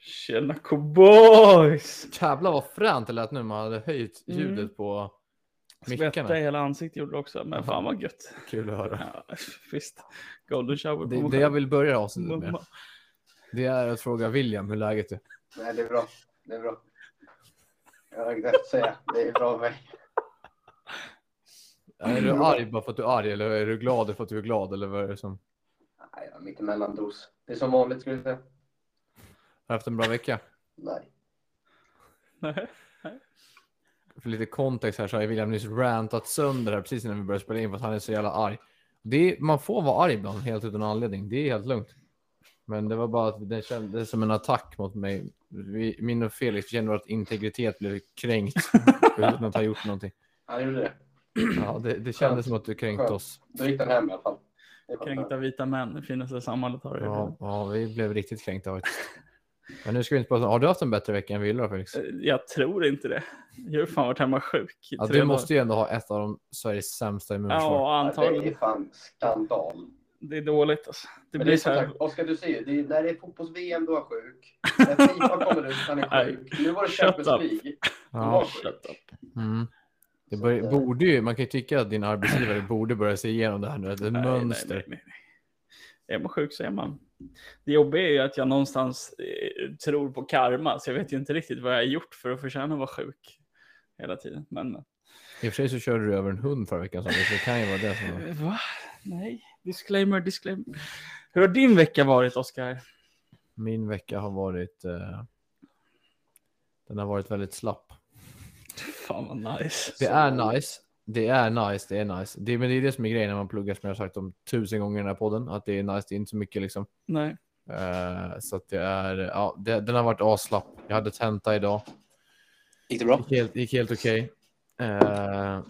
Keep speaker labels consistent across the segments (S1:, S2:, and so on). S1: Tjena cowboys!
S2: Jävlar vad fränt det lät nu man hade höjt
S1: Mm.
S2: ljudet på
S1: Svetta i
S2: mickarna.
S1: hela ansiktet gjorde det också, men fan vad gött.
S2: Kul att höra.
S1: Ja, visst. Golden shower på
S2: Det,
S1: mig
S2: det
S1: själv.
S2: jag vill börja avsnittet med,
S1: Mamma.
S2: det är att fråga William hur läget är.
S3: Nej, det är bra. Det är bra. Jag har inget att säga. Det är bra med mig.
S2: Är
S1: Mm.
S2: du arg bara för att du är arg eller är du glad för att du är glad eller vad är det som?
S3: Nej, jag har mitt emellandos. Det är som vanligt skulle jag säga.
S2: Har du haft en bra vecka?
S3: Nej.
S1: Nej.
S2: För lite kontext här så har ju William nyss rantat sönder här precis innan vi började spela in för att han är så jävla arg. Det är, man får vara arg ibland helt utan anledning. Det är helt lugnt. Men det var bara att det kändes som en attack mot mig. Vi, min och Felix kände att integritet blev kränkt utan att ha gjort någonting.
S3: Han gjorde det.
S2: Ja, det, det kändes som att du kränkte
S3: Skönt.
S2: oss.
S3: Då gick den hem i alla fall. Det var
S1: Kränkta vita män, det finaste samhället har det.
S2: Ja, ja, vi blev riktigt kränkta faktiskt. Men nu ska vi inte prata Har du haft en bättre vecka än vi gillar Felix?
S1: Eh, Jag tror inte det. Jag har fan varit hemma sjuk i
S2: Ja,
S1: tre
S2: du måste ju ändå ha ett av de Sveriges sämsta
S1: dagar. Ja,
S2: immunförsvar.
S3: skönt. Det är
S1: antagligen.
S3: fan skandal.
S1: Det är dåligt alltså. Det
S3: Men
S1: blir
S3: är
S1: så
S3: som
S1: här.
S3: sagt, Oskar, du ser ju. Det är, när det är fotbolls-VM då är han sjuk. När Fifa kommer ut han är
S1: Nej.
S3: sjuk. Nu var det
S1: Shut
S3: Champions
S1: up.
S3: League. Han
S2: Ja.
S3: var
S1: Shut
S3: sjuk.
S1: up.
S2: Mm. Det
S3: Så
S2: bör,
S3: att, eh,
S2: borde ju, man kan ju tycka att din arbetsgivare borde börja se igenom det här nu, att det är ett
S1: Nej, nej,
S2: mönster.
S1: nej, nej, nej. Är man sjuk så är man. Det jobbiga är ju att jag någonstans eh, tror på karma, så jag vet ju inte riktigt vad jag har gjort för att förtjäna att vara sjuk hela tiden. Men
S2: I och för sig så körde du över en hund förra veckan, så det kan ju vara det som...
S1: Eh, Va? Nej. Disclaimer, disclaimer. Hur har din vecka varit, Oskar?
S2: Min vecka har varit... Eh, den har varit väldigt slapp.
S1: Fan vad nice.
S2: Det är nice. Det är nice, det är nice. Det, men det är det som är grejen när man pluggar, som jag har sagt om tusen gånger i den här podden, att det är nice, det är inte så mycket liksom.
S1: Nej.
S2: Eh, så att det är, ja, det, den har varit asslapp. Jag hade tenta idag.
S3: Gick det bra?
S2: gick helt, gick helt okej. Eh,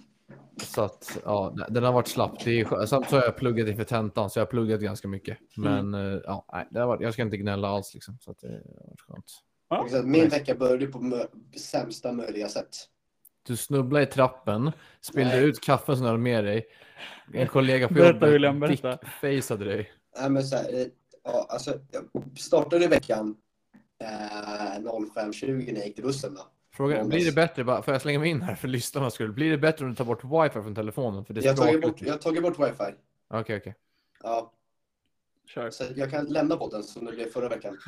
S2: så att, ja, nej, den har varit slapp. Det är, skö- samt så har jag pluggat inför tentan, så jag har pluggat ganska mycket.
S3: Mm.
S2: Men eh, ja, nej, det har varit, jag ska inte gnälla alls liksom. Så att det har varit skönt.
S1: Ja.
S3: Min vecka började på sämsta möjliga sätt.
S2: Du snubblade i trappen, spillde
S3: Nej.
S2: ut kaffen som du hade med dig. En kollega på
S1: Berätta,
S2: jobbet
S1: William, berätta.
S2: dickfaceade dig.
S3: Nej, men så här, eh, ja, alltså, jag startade veckan eh, 05.20 när jag gick till bussen. Då.
S2: Fråga,
S3: Måndags.
S2: blir det bättre, bara, får jag slänga mig in här för lyssnarnas skull, blir det bättre om du tar bort wifi från telefonen? För det är
S3: Jag har tagit
S2: språkligt.
S3: bort, jag har tagit bort wifi.
S2: Okej, okej.
S3: Ja,
S1: Kör.
S3: så jag kan lämna podden som det blev förra veckan.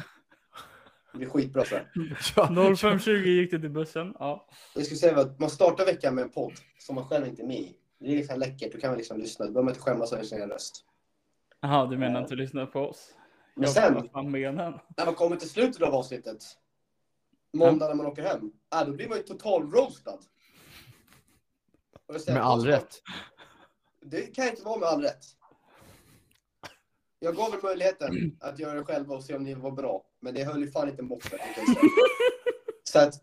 S3: Det blir skitbra tror jag.
S2: Ja,
S1: 05.20 gick det till bussen. Ja.
S3: Jag skulle säga att man startar veckan med en podd som man själv inte är med i. Det är liksom läckert, då kan man liksom lyssna. Då behöver man inte skämmas över sin egen röst.
S1: Jaha, du menar att du lyssnar på oss?
S3: Men
S1: Jag
S3: sen-
S1: vet vad fan menar. han?
S3: När man kommer till slutet av avsnittet, måndag när man åker hem, ah, då blir man ju total roastad. Och jag säger
S2: Med
S3: att-
S2: all rätt.
S3: Det kan inte vara med all rätt. Jag gav er möjligheten att göra det själva och se om ni var bra. Men det höll ju fan inte måttet. kan jag säga. Så att,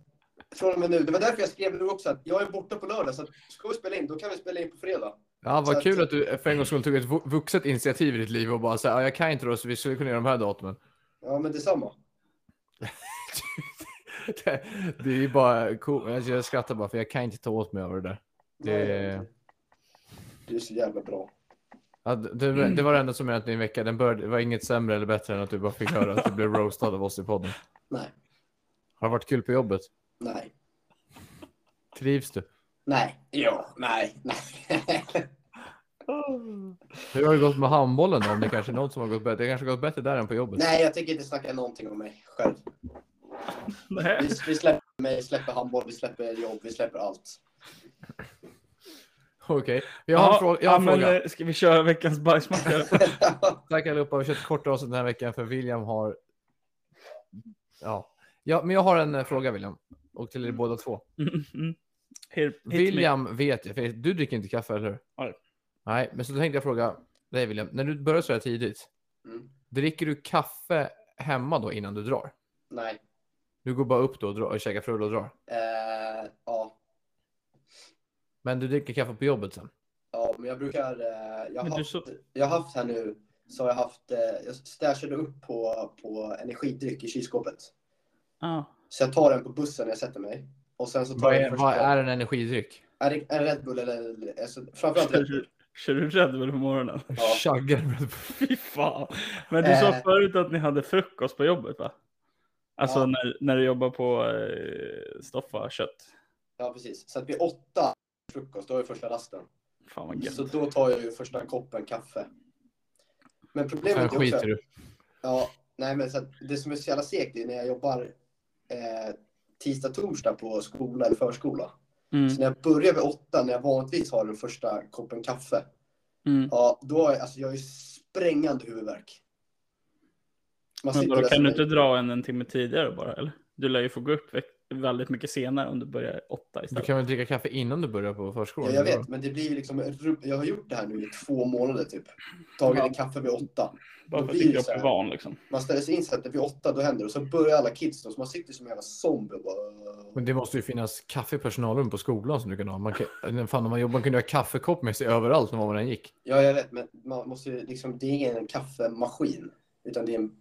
S3: från och med nu. Det var därför jag skrev nu också att jag är borta på lördag. Så att, ska vi spela in, då kan vi spela in på fredag.
S2: Ja,
S3: Så
S2: vad
S3: att-
S2: kul att du för en gångs skull tog ett vu- vuxet initiativ i ditt liv och bara så här, "Ja, jag kan inte då, så vi skulle kunna göra de här datumen.
S3: Ja, men detsamma.
S2: det, det är ju bara cool. alltså, jag skrattar bara för jag kan inte ta åt mig över det där. Det-
S3: Du är så jävla bra.
S2: Ja, det, det- det var det enda som hände din vecka. Den började, det var inget sämre eller bättre än att du bara fick höra att du blev roastad av oss i podden.
S3: Nej,
S2: Har det varit kul på jobbet?
S3: nej,
S2: Trivs du?
S3: nej, ja, nej, nej.
S2: Hur har det gått med handbollen då? Om det kanske är något som har gått bättre? Det kanske har gått bättre där än på jobbet?
S3: nej, jag tänker inte snacka någonting om mig själv. Vi,
S1: Nej.
S3: vi släpper mig, släpper handboll, vi släpper jobb, vi släpper allt.
S2: Okej, jag har en fråga. Jag har en
S1: ja,
S2: fråga.
S1: Men, eh, ska vi köra veckans bajsmacka?
S2: Tack allihopa. Vi kör ett kort avsnitt den här veckan för William har... Ja. ja, men jag har en eh, fråga William. Och till er båda två.
S1: Mm, mm. Hit- hit me.
S2: William vet jag, för du dricker inte kaffe, eller hur?
S1: Nej.
S2: Nej, men så tänkte jag fråga dig William. När du börjar så här tidigt,
S3: Mm,
S2: dricker du kaffe hemma då innan du drar?
S3: nej.
S2: Du går bara upp då och, drar, och käkar frulle och drar.
S3: Eh, ja,
S2: Men du dricker kaffe på jobbet sen?
S3: ja, men jag brukar... Eh, jag,
S1: Men
S3: har
S1: du
S3: haft,
S1: så-
S3: jag har haft här nu, så har jag haft... Eh, jag stashade upp på, på energidryck i kylskåpet.
S1: Ah.
S3: Så jag tar den på bussen när jag sätter mig. Och sen så tar
S2: Vad
S3: jag
S2: är,
S3: första...
S2: vad är en energidryck?
S3: är det en Red Bull eller... eller- Alltså, framförallt
S1: Kör
S3: Red Bull.
S1: du- kör du Red Bull på morgonen?
S3: Ja.
S2: Chaggar.
S1: Fy fan. Men du sa
S3: Eh.
S1: förut att ni hade frukost på jobbet va? Alltså
S3: Ja.
S1: när, när du jobbar på eh, stoffa kött.
S3: Ja, precis. Så att vid åtta frukost, då har jag första rasten.
S1: Fan vad
S3: Så
S1: gött.
S3: då tar jag ju första koppen kaffe. Men problemet
S2: Sen
S3: är också...
S2: skiter du.
S3: Ja, nej men så att det som är så jävla segt är när jag jobbar eh, tisdag, torsdag på skola eller förskola.
S1: Mm,
S3: Så när jag börjar vid åtta, när jag vanligtvis har den första koppen kaffe,
S1: mm.
S3: ja, då har jag, alltså, jag har ju sprängande huvudvärk. Man
S1: Men
S3: sitter
S1: då
S3: där
S1: kan
S3: som
S1: du
S3: en-
S1: inte dra en en timme tidigare bara eller? Du lär ju få gå upp vä- väldigt mycket senare om du börjar åtta
S2: Du
S1: istället.
S2: kan väl dricka kaffe innan du börjar på förskolan?
S3: Ja, jag vet, men det blir ju liksom... rubb- Jag har gjort det här nu i två månader typ. Tagit en kaffe vid åtta.
S1: Bara för att
S3: då blir
S1: din
S3: det
S1: kropp
S3: så här.
S1: är van liksom.
S3: Man ställer sig in så att det vid åtta, då händer det. Och så börjar alla kids då, så man sitter som en jävla zombie och bara...
S2: Men det måste ju finnas kaffepersonalrum på skolan som du kan ha. Man kan, fan, när man, jobbade, man kunde ha kaffekopp med sig överallt när man än gick.
S3: Ja, jag vet, men man måste ju liksom... Det är ingen kaffemaskin, utan det är en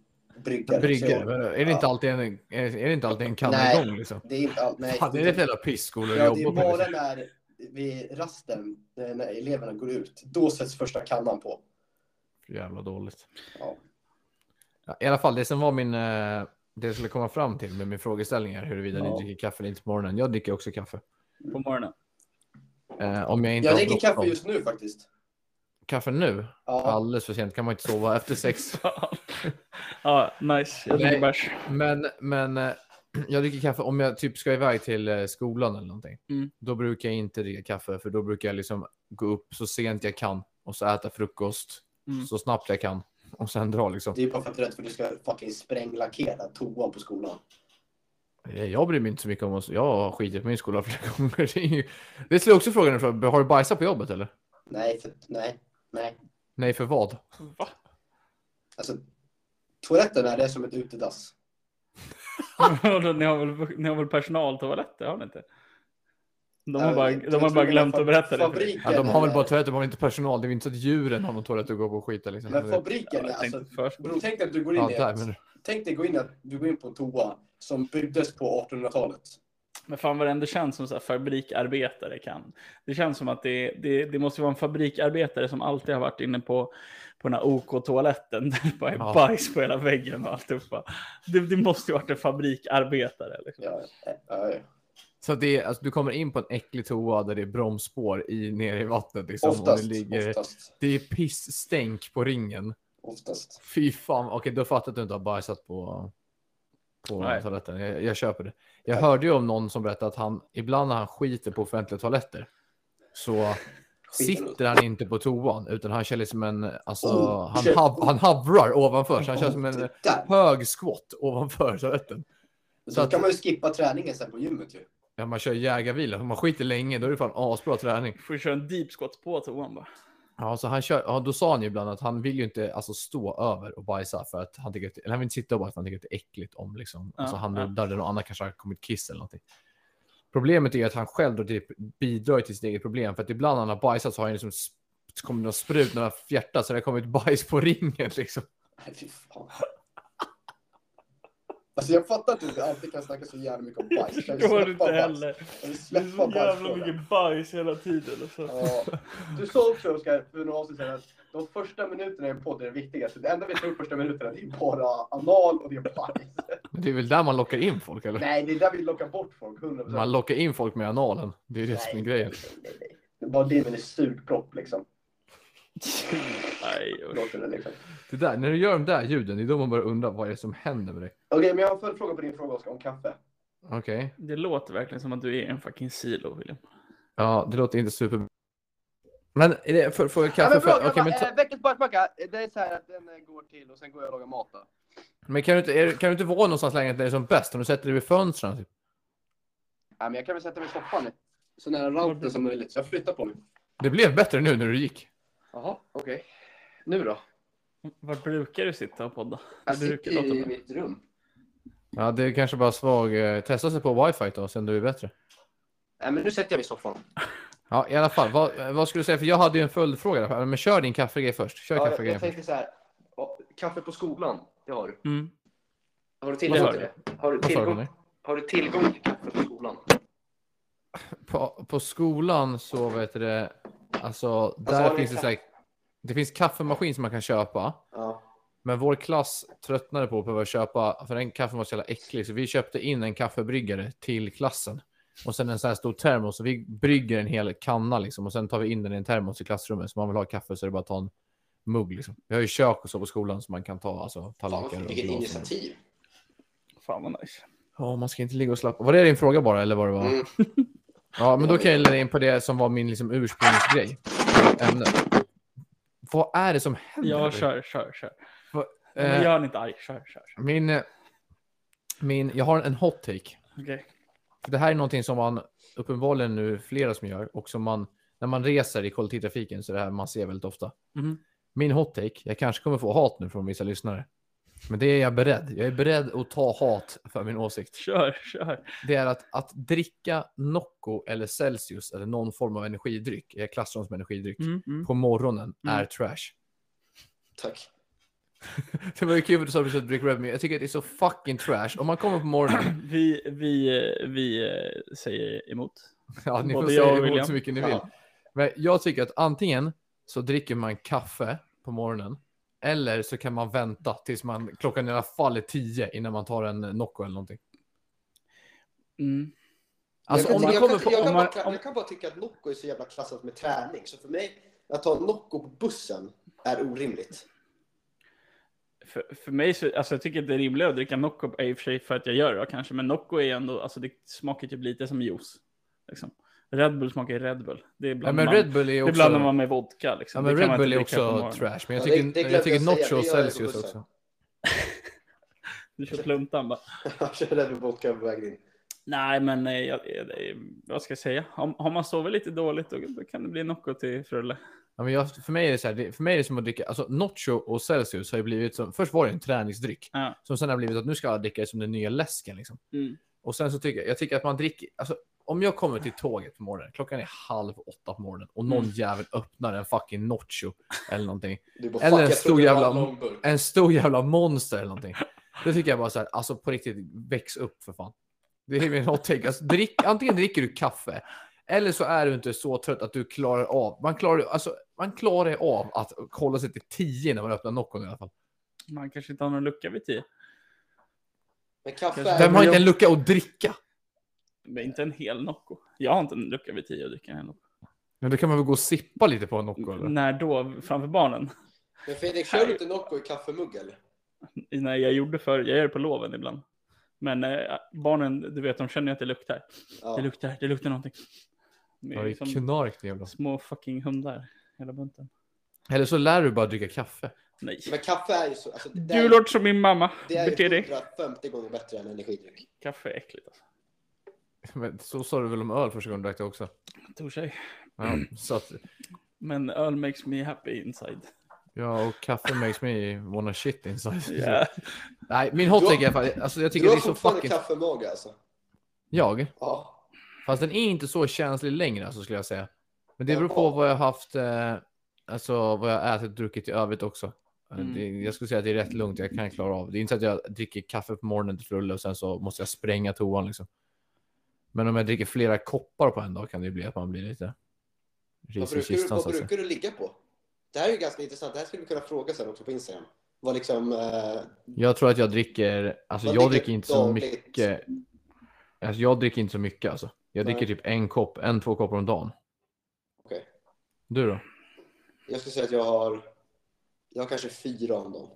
S3: bryggare.
S2: Bryggor.
S3: Så-
S2: Är det inte alltid en, är är det inte alltid en kanna
S3: Nej.
S2: igång liksom?
S3: Det är inte allt. Nej,
S2: Fan, det är ett jävla pissskola
S3: ja,
S2: att
S3: det är
S2: jobba på.
S3: bara
S2: Liksom.
S3: när vid rasten, eh, när eleverna går ut, då sätts första kannan på.
S2: Jävla dåligt.
S3: Ja.
S2: Ja, I alla fall, det som var min... eh, Det jag skulle komma fram till med min frågeställning är huruvida
S1: Ja.
S2: ni dricker kaffe eller inte på morgonen. Jag dricker också kaffe.
S1: På morgonen.
S2: Eh, om jag inte
S3: Jag
S2: har
S3: dricker
S2: bråttom.
S3: kaffe just nu faktiskt.
S2: Kaffe nu?
S3: Ja,
S2: Alldeles för sent kan man inte sova efter sex.
S1: ja, nice. Jag dricker
S2: Nej.
S1: bärs.
S2: Men, men eh, jag dricker kaffe om jag typ ska iväg till eh, skolan eller någonting.
S1: Mm.
S2: Då brukar jag inte dricka kaffe för då brukar jag liksom gå upp så sent jag kan och så äta frukost
S1: Mm.
S2: så snabbt jag kan och sen dra liksom.
S3: det är ju bara för att du är rädd för att du ska fucking spränglackera toan på skolan.
S2: Eh, Jag bryr mig inte så mycket om oss. Jag har skitit på min skola flera gånger. Det är ju- Det skulle jag också frågan ifrån. Har du bajsat på jobbet eller?
S3: Nej, för, nej, nej.
S2: Nej, för vad?
S1: Va?
S3: Alltså, toaletten är det som ett utedass.
S1: Vadå, ni, har väl, ni har väl personaltoaletter? Har ni inte? De har
S3: Ja,
S1: bara,
S3: jag
S1: de har
S3: tror
S1: bara
S3: det är
S1: glömt
S3: fab-
S1: att berätta det. för dig.
S3: fabriken
S2: Ja, de har väl
S3: är-
S2: bara toalett, de har väl inte personal. Det är väl inte så att djuren har någon toalett att gå på och skita liksom.
S3: Men
S2: Ja,
S3: fabriken,
S1: Ja,
S3: är
S1: jag tänkte
S3: alltså,
S1: förskola.
S3: bro, tänk dig att du går in i
S2: där,
S3: ett,
S2: men...
S3: tänk dig gå in i att du går in på en toa som byggdes på 1800-talet.
S1: Men fan vad det ändå känns som så här fabrikarbetare kan. Det känns som att det, det, det måste vara en fabrikarbetare som alltid har varit inne på, på den här OK-toaletten. Där det bara är
S2: Ja.
S1: bajs på hela väggen och alltihopa. Det, det måste ju varit en fabrikarbetare. Liksom.
S3: Ja, ja, ja.
S2: Liksom, Så att det är, alltså, du kommer in på en äcklig toa där det är bromsspår i, nere i vattnet. Liksom, och
S3: Oftast,
S2: det, ligger,
S3: oftast,
S2: det är pissstänk på ringen.
S3: oftast.
S2: Fy fan, okej då fattar jag att du inte har bajsat på, på
S1: Nej.
S2: toaletten. Jag, jag köper det. Jag
S3: Tack.
S2: hörde ju om någon som berättade att han ibland när han skiter på offentliga toaletter så sitter han inte på toan utan han kör liksom en, alltså
S3: Oh,
S2: han,
S3: shit.
S2: hav, han havrar ovanför så han kör som en
S3: Det där.
S2: hög squat ovanför toaletten. Så
S3: Så
S2: att-
S3: kan man ju skippa träningen sen på gymmet ju.
S2: Ja, man kör jägarvila, om man skiter länge då är det fan asbra träning.
S1: Får ju köra en deep squat på toan bara.
S2: Ja, så han kör, ja, då sa han ju ibland att han vill ju inte alltså, stå över och bajsa för att han tycker att, eller han vill inte sitta och bajsa för han tycker att det är äckligt om liksom.
S1: Ja,
S2: alltså, han
S1: ja.
S2: nuddar eller någon annan kanske har kommit kiss eller någonting. Problemet är ju att han själv då typ bidrar till sitt eget problem för att ibland när han har bajsat så har han liksom sp- så kommer det någon sprut när han fjärtar så det har kommit bajs på ringen liksom.
S3: Nej, fy fan. Alltså jag fattar inte hur vi alltid kan snacka så jävla mycket om bajs. Kan
S1: Det
S3: vi
S1: går
S3: släppa
S1: inte
S3: bajs?
S1: heller.
S3: Kan vi
S1: Det är så
S3: släppa
S1: jävla
S3: bajsfrågan?
S1: mycket bajs hela tiden. Alltså.
S3: Ja. Du sa också Oskar för några avsnitt sedan att de första minuterna i en podd är det viktigaste. Det enda vi tar upp första minuterna det är bara anal och det är bajs.
S2: Men det är väl där man lockar in folk eller?
S3: Nej, det är där vi lockar bort folk. 100%.
S2: Man lockar in folk med analen. Det är ju det som är
S3: Nej.
S2: grejen.
S3: Nej, nej. Det är bara det med en surpropp liksom.
S1: Nej, usch.
S3: Låter det liksom.
S2: Det där, när du gör de där ljuden, det är då man börjar undra vad det är som händer med dig.
S3: Okej, men jag har en följdfråga på din fråga Oskar om kaffe.
S2: Okej.
S1: det låter verkligen som att du är en fucking silo, William.
S2: Ja, det låter inte super. Men är det för, för
S3: Ja,
S2: kaffe
S3: men
S2: för,
S3: bra,
S2: okej,
S3: grabbar,
S2: men, ta,
S3: eh, veckans bajsmacka, eh, det är så här att den eh, går till och sen går jag och lagar mat då.
S2: men kan, du inte, är, du- kan du inte vara någonstans längre än det är som bäst? Om du sätter dig vid fönstren. Typ.
S3: Ja, men jag kan väl sätta mig i soffan nu. Så nära routern som möjligt, så jag flyttar på mig.
S2: Det blev bättre nu när du gick.
S3: Jaha, okej. Nu då?
S1: Var brukar du sitta och podda?
S3: Jag
S1: Det brukar
S3: sitter
S1: låta
S3: i
S1: bra.
S3: mitt rum.
S2: Ja, det är kanske bara svag. Eh, testa sig på wifi då, sen du är bättre.
S3: Nej, men nu sätter jag mig i soffan.
S2: Ja, i alla fall. Vad, eh, vad skulle du säga? För jag hade ju en följdfråga. där. Men kör din kaffegrej först. Kör
S3: Ja, jag,
S2: kaffegrejen
S3: jag
S2: först.
S3: tänkte så här. ja, Kaffe på skolan, det har du.
S1: Mm.
S3: Har du tillgång
S1: har
S3: till
S1: du.
S3: det? Har du
S2: Vad sa du,
S3: tillgång,
S2: Conny?
S3: har du tillgång till kaffe på skolan?
S2: På, på skolan så vet du det. Alltså, där
S3: har ni
S2: finns det
S3: kaffe?
S2: så här, Det finns kaffemaskin som man kan köpa.
S3: Ja.
S2: Men vår klass tröttnade på att behöva köpa, för den kaffen var så jävla äcklig, så vi köpte in en kaffebryggare till klassen. Och sen en sån här stor termos, så vi brygger en hel kanna liksom, och sen tar vi in den i en termos i klassrummet. Så man vill ha kaffe så är det bara att ta en mugg liksom. Vi har ju kök och så på skolan som man kan ta, alltså
S4: Fan,
S2: tallrikar
S4: vad-
S2: och
S4: vilket
S2: glas.
S4: initiativ.
S1: Fan vad nice.
S2: Ja, man ska inte ligga och slappa. Var det din fråga bara, eller var det bara?
S4: Mm.
S2: Ja, men då kan jag lägga in på det som var min liksom, ursprungsgrej. Ämne. Vad är det som händer?
S1: Ja, kör, kör, kör.
S2: Va-
S1: Nej,
S2: eh.
S1: men gör han inte arg. Kör, kör. kör.
S2: Min, eh, min, jag har en hot take.
S1: Okej.
S2: För det här är någonting som man uppenbarligen nu flera som gör och som man när man reser i kollektivtrafiken så är det här man ser väldigt ofta.
S1: Mhm.
S2: Min hot take, jag kanske kommer få hat nu från vissa lyssnare. Men det är jag beredd. Jag är beredd att ta hat för min åsikt.
S1: Kör, kör.
S2: Det är att, att dricka Nocco eller Celsius eller någon form av energidryck, jag klassar dem som energidryck,
S1: Mm, mm.
S2: på morgonen
S1: Mm.
S2: är trash.
S4: Tack.
S2: Det var ju kul att du sa precis att du dricker Red Bull, men jag tycker att det är så fucking trash. Om man kommer på morgonen,
S1: Vi, vi, eh, vi eh, säger emot.
S2: ja ni får
S1: Både jag och
S2: säga emot
S1: William.
S2: så mycket ni vill.
S4: Ja.
S2: Men jag tycker att antingen så dricker man kaffe på morgonen, eller så kan man vänta tills man, klockan i alla fall är tio innan man tar en Nocco eller någonting.
S1: Mm.
S2: Alltså
S4: jag,
S2: om
S4: kan,
S2: man
S4: jag,
S2: kommer
S4: kan,
S2: på...
S4: jag,
S2: Om
S4: kan
S2: man,
S4: bara,
S2: om,
S4: jag kan bara tycka att Nocco är så jävla klassat med träning, så för mig, att ta Nocco på bussen är orimligt.
S1: För, för mig så, alltså jag tycker det är rimligt att dricka Nocco är i och för sig för att jag gör det kanske, men Nocco är ändå, alltså det smakar typ lite som juice. Liksom. Red Bull smakar ju Red Bull. Det är
S2: ja,
S1: bland
S2: men
S1: man,
S2: Red Bull är
S1: det blandar
S2: också...
S1: man med vodka liksom.
S2: Ja, men
S1: Det kan man
S2: Red Bull
S1: inte
S2: är
S1: dricka på
S2: också
S1: morgonen.
S2: trash, men jag
S4: Ja, det- det
S2: tycker,
S4: glömde
S2: jag tycker
S4: jag säga.
S2: Nacho och
S4: Det gör jag på
S2: Celsius
S4: bussen.
S2: också.
S1: Du kör pluntan bara.
S4: Jag körde med vodka på vägen in.
S1: Nej, men eh, jag, jag, eh, vad ska jag säga? Om, har man sovit lite dåligt då, då kan det bli Nocco till Frulle.
S2: Ja, men jag, för, mig är det så här, det, för mig är det som att dricka, alltså Nacho och Celsius har ju blivit som, först var det en träningsdryck,
S1: Ja.
S2: som sen har blivit att nu ska alla dricka det som den nya läsken liksom.
S1: Mm.
S2: Och sen så tycker jag, jag tycker att man dricker, alltså om jag kommer till tåget på morgonen, klockan är halv åtta på morgonen och någon
S1: Mm. jävel
S2: öppnar en fucking Nacho eller någonting.
S4: Du bara,
S2: Eller en
S4: fuck, jag
S2: stor
S4: trodde det var
S2: jävla-
S4: en lång burk.
S2: En stor jävla monster eller någonting. Då tycker jag bara så här, alltså på riktigt, väx upp för fan. Det är min hot take. Alltså, drick, antingen dricker du kaffe eller så är du inte så trött att du klarar av, man klarar, alltså, man klarar av att kolla sig till tio när man öppnar Noccon i alla fall.
S1: Man kanske inte har någon lucka vid tio.
S4: Men kaffe
S1: Vem
S4: är...
S2: Vem har
S1: men jag-
S2: inte en lucka att dricka?
S1: Men inte en hel Nocco. Jag har inte en lucka vid tio att dricka en Nocco.
S2: Men då kan man väl gå och sippa lite på en Nocco eller?
S1: När då? Framför barnen?
S4: Men Fredrik, kör du inte Nocco i kaffemugg eller?
S1: när jag gjorde för jag gör det på loven ibland. Men eh, barnen, du vet, de känner ju att det luktar.
S4: Ja.
S1: Det luktar, det luktar någonting. De
S2: Ja,
S1: är
S2: det är
S1: liksom
S2: knark det jävla.
S1: små fucking hundar, hela bunten.
S2: Eller så lär du bara dricka kaffe.
S1: Nej.
S4: Men kaffe är ju så... Alltså, det,
S1: Du
S4: är,
S1: låter som min mamma.
S4: det är
S1: Bete
S4: ju
S1: dig.
S4: 150 gånger bättre än energidryck.
S1: Kaffe är äckligt alltså.
S2: Men så sa du väl om öl första gången du drack det också?
S1: Tog sig.
S2: Ja, så att,
S1: Men öl makes me happy inside.
S2: ja, och kaffe makes me wanna shit inside.
S1: Ja.
S2: Nej, min hot
S4: Du har-
S2: take är fan- alltså jag tycker
S4: Du
S2: det
S4: har
S2: är så
S4: fortfarande
S2: fucking...
S4: kaffemage alltså?
S2: Jag?
S4: Ja.
S2: Fast den är inte så känslig längre alltså, skulle jag säga. Men det beror på vad jag har haft, eh, alltså vad jag har ätit och druckit i övrigt också. Eh,
S1: Mm.
S2: Det, jag skulle säga att det är rätt lugnt, jag kan klara av det. Det är inte så att jag dricker kaffe på morgonen till frulle och sen så måste jag spränga toan liksom. Men om jag dricker flera koppar på en dag kan det ju bli att man blir lite alltså.
S4: Vad
S2: ris
S4: brukar,
S2: i
S4: du,
S2: kistan
S4: vad
S2: så att säga.
S4: brukar du ligga på? Det här är ju ganska intressant. Det här skulle vi kunna fråga sen också på Instagram. Vad liksom... Eh,
S2: Jag tror att jag dricker, alltså
S4: Vad
S2: jag
S4: dricker
S2: dricker inte så
S4: dagligt?
S2: mycket. Alltså jag dricker inte så mycket alltså. Jag
S4: Nej.
S2: dricker typ en kopp, en två koppar om dagen.
S4: Okej.
S2: Du då?
S4: jag skulle säga att jag har... Jag har kanske fyra om dem.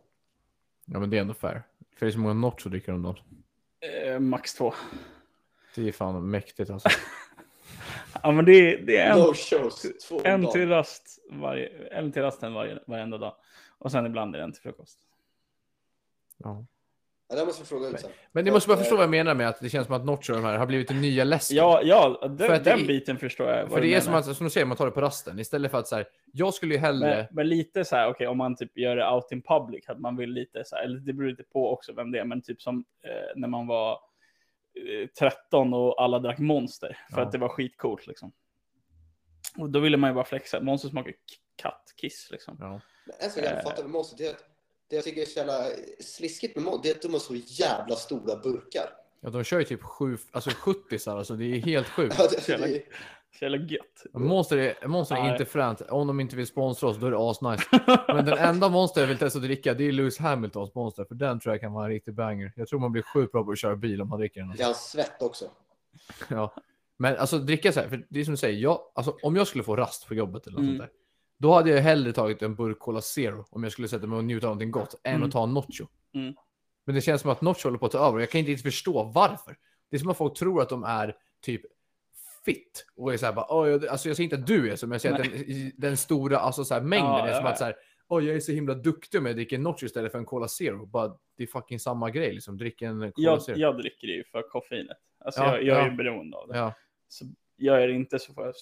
S2: Ja men det är ändå fair. För det är så många Notch att dricka om dagen.
S1: Eh, max två.
S2: Det är fan mäktigt alltså.
S1: Ja men det är, det är en,
S4: No shows. Två om
S1: en
S4: dagen.
S1: till rast varje, en till rasten varje, varenda dag. Och sen ibland är det en till frukost.
S2: Ja.
S4: Ja, det här måste vi fråga ut sen.
S2: Men ni måste bara förstå vad jag menar med att det känns som att Notch och de här har blivit den nya läsken.
S1: Ja, ja den,
S2: För att det
S1: den
S2: är-
S1: biten förstår jag. vad
S2: För
S1: du
S2: det är
S1: menar.
S2: som att, som du säger, man tar det på rasten. Istället för att så här, jag skulle ju
S1: Men,
S2: hellre...
S1: men lite så här, okej, om man typ gör det out in public, att man vill lite så här, eller det beror lite på också vem det är, men typ som eh, när man var eh, 13 och alla drack Monster, för
S2: Ja.
S1: att det var skitcoolt liksom. Och då ville man ju bara flexa, Monster smakar k- kattkiss liksom.
S2: Ja.
S4: Men en sak jag
S1: Eh.
S4: inte fattar med Monster, det är att det jag tycker är så jävla sliskigt med Monster, det är att de har så jävla stora burkar.
S2: Ja, de kör ju typ sju, alltså 70 så här, alltså det är helt sjukt.
S4: Ja, det, det,
S1: jävla-
S4: det,
S1: Så jävla gött.
S2: Monster är, monster är
S1: Nej.
S2: inte fränt. Om de inte vill sponsra oss, då är det asnice. Men den enda monster jag vill testa att dricka, det är Lewis Hamiltons monster. För den tror jag kan vara en riktig banger. Jag tror man blir sjukt bra på att köra bil om man dricker den. alltså.
S3: Det är hans svett också.
S2: Ja. Men alltså dricka så här, för det är som du säger, jag, alltså, om jag skulle få rast på jobbet eller något
S1: Mm.
S2: sånt där, då hade jag hellre tagit en burk Cola Zero om jag skulle sätta mig och njuta av någonting gott, än
S1: Mm.
S2: att ta en Nacho.
S1: Mm.
S2: Men det känns som att Nacho håller på att ta över och jag kan inte riktigt förstå varför. Det är som att folk tror att de är typ fit och är så här bara, "Åh, jag, alltså jag säger inte att du är så, men jag säger att den, i- den stora alltså, så här, mängden
S1: Ja,
S2: är som
S1: ja,
S2: att så här, Åh, jag är så himla duktig om jag dricker en Nacho istället för en Cola Zero. Bara, det är fucking samma grej liksom, drick en Cola
S1: Jag,
S2: Zero.
S1: jag dricker ju för koffeinet. Alltså
S2: Ja,
S1: jag, jag är
S2: ja.
S1: ju beroende av det.
S2: Ja.
S1: Så gör jag det inte så får jag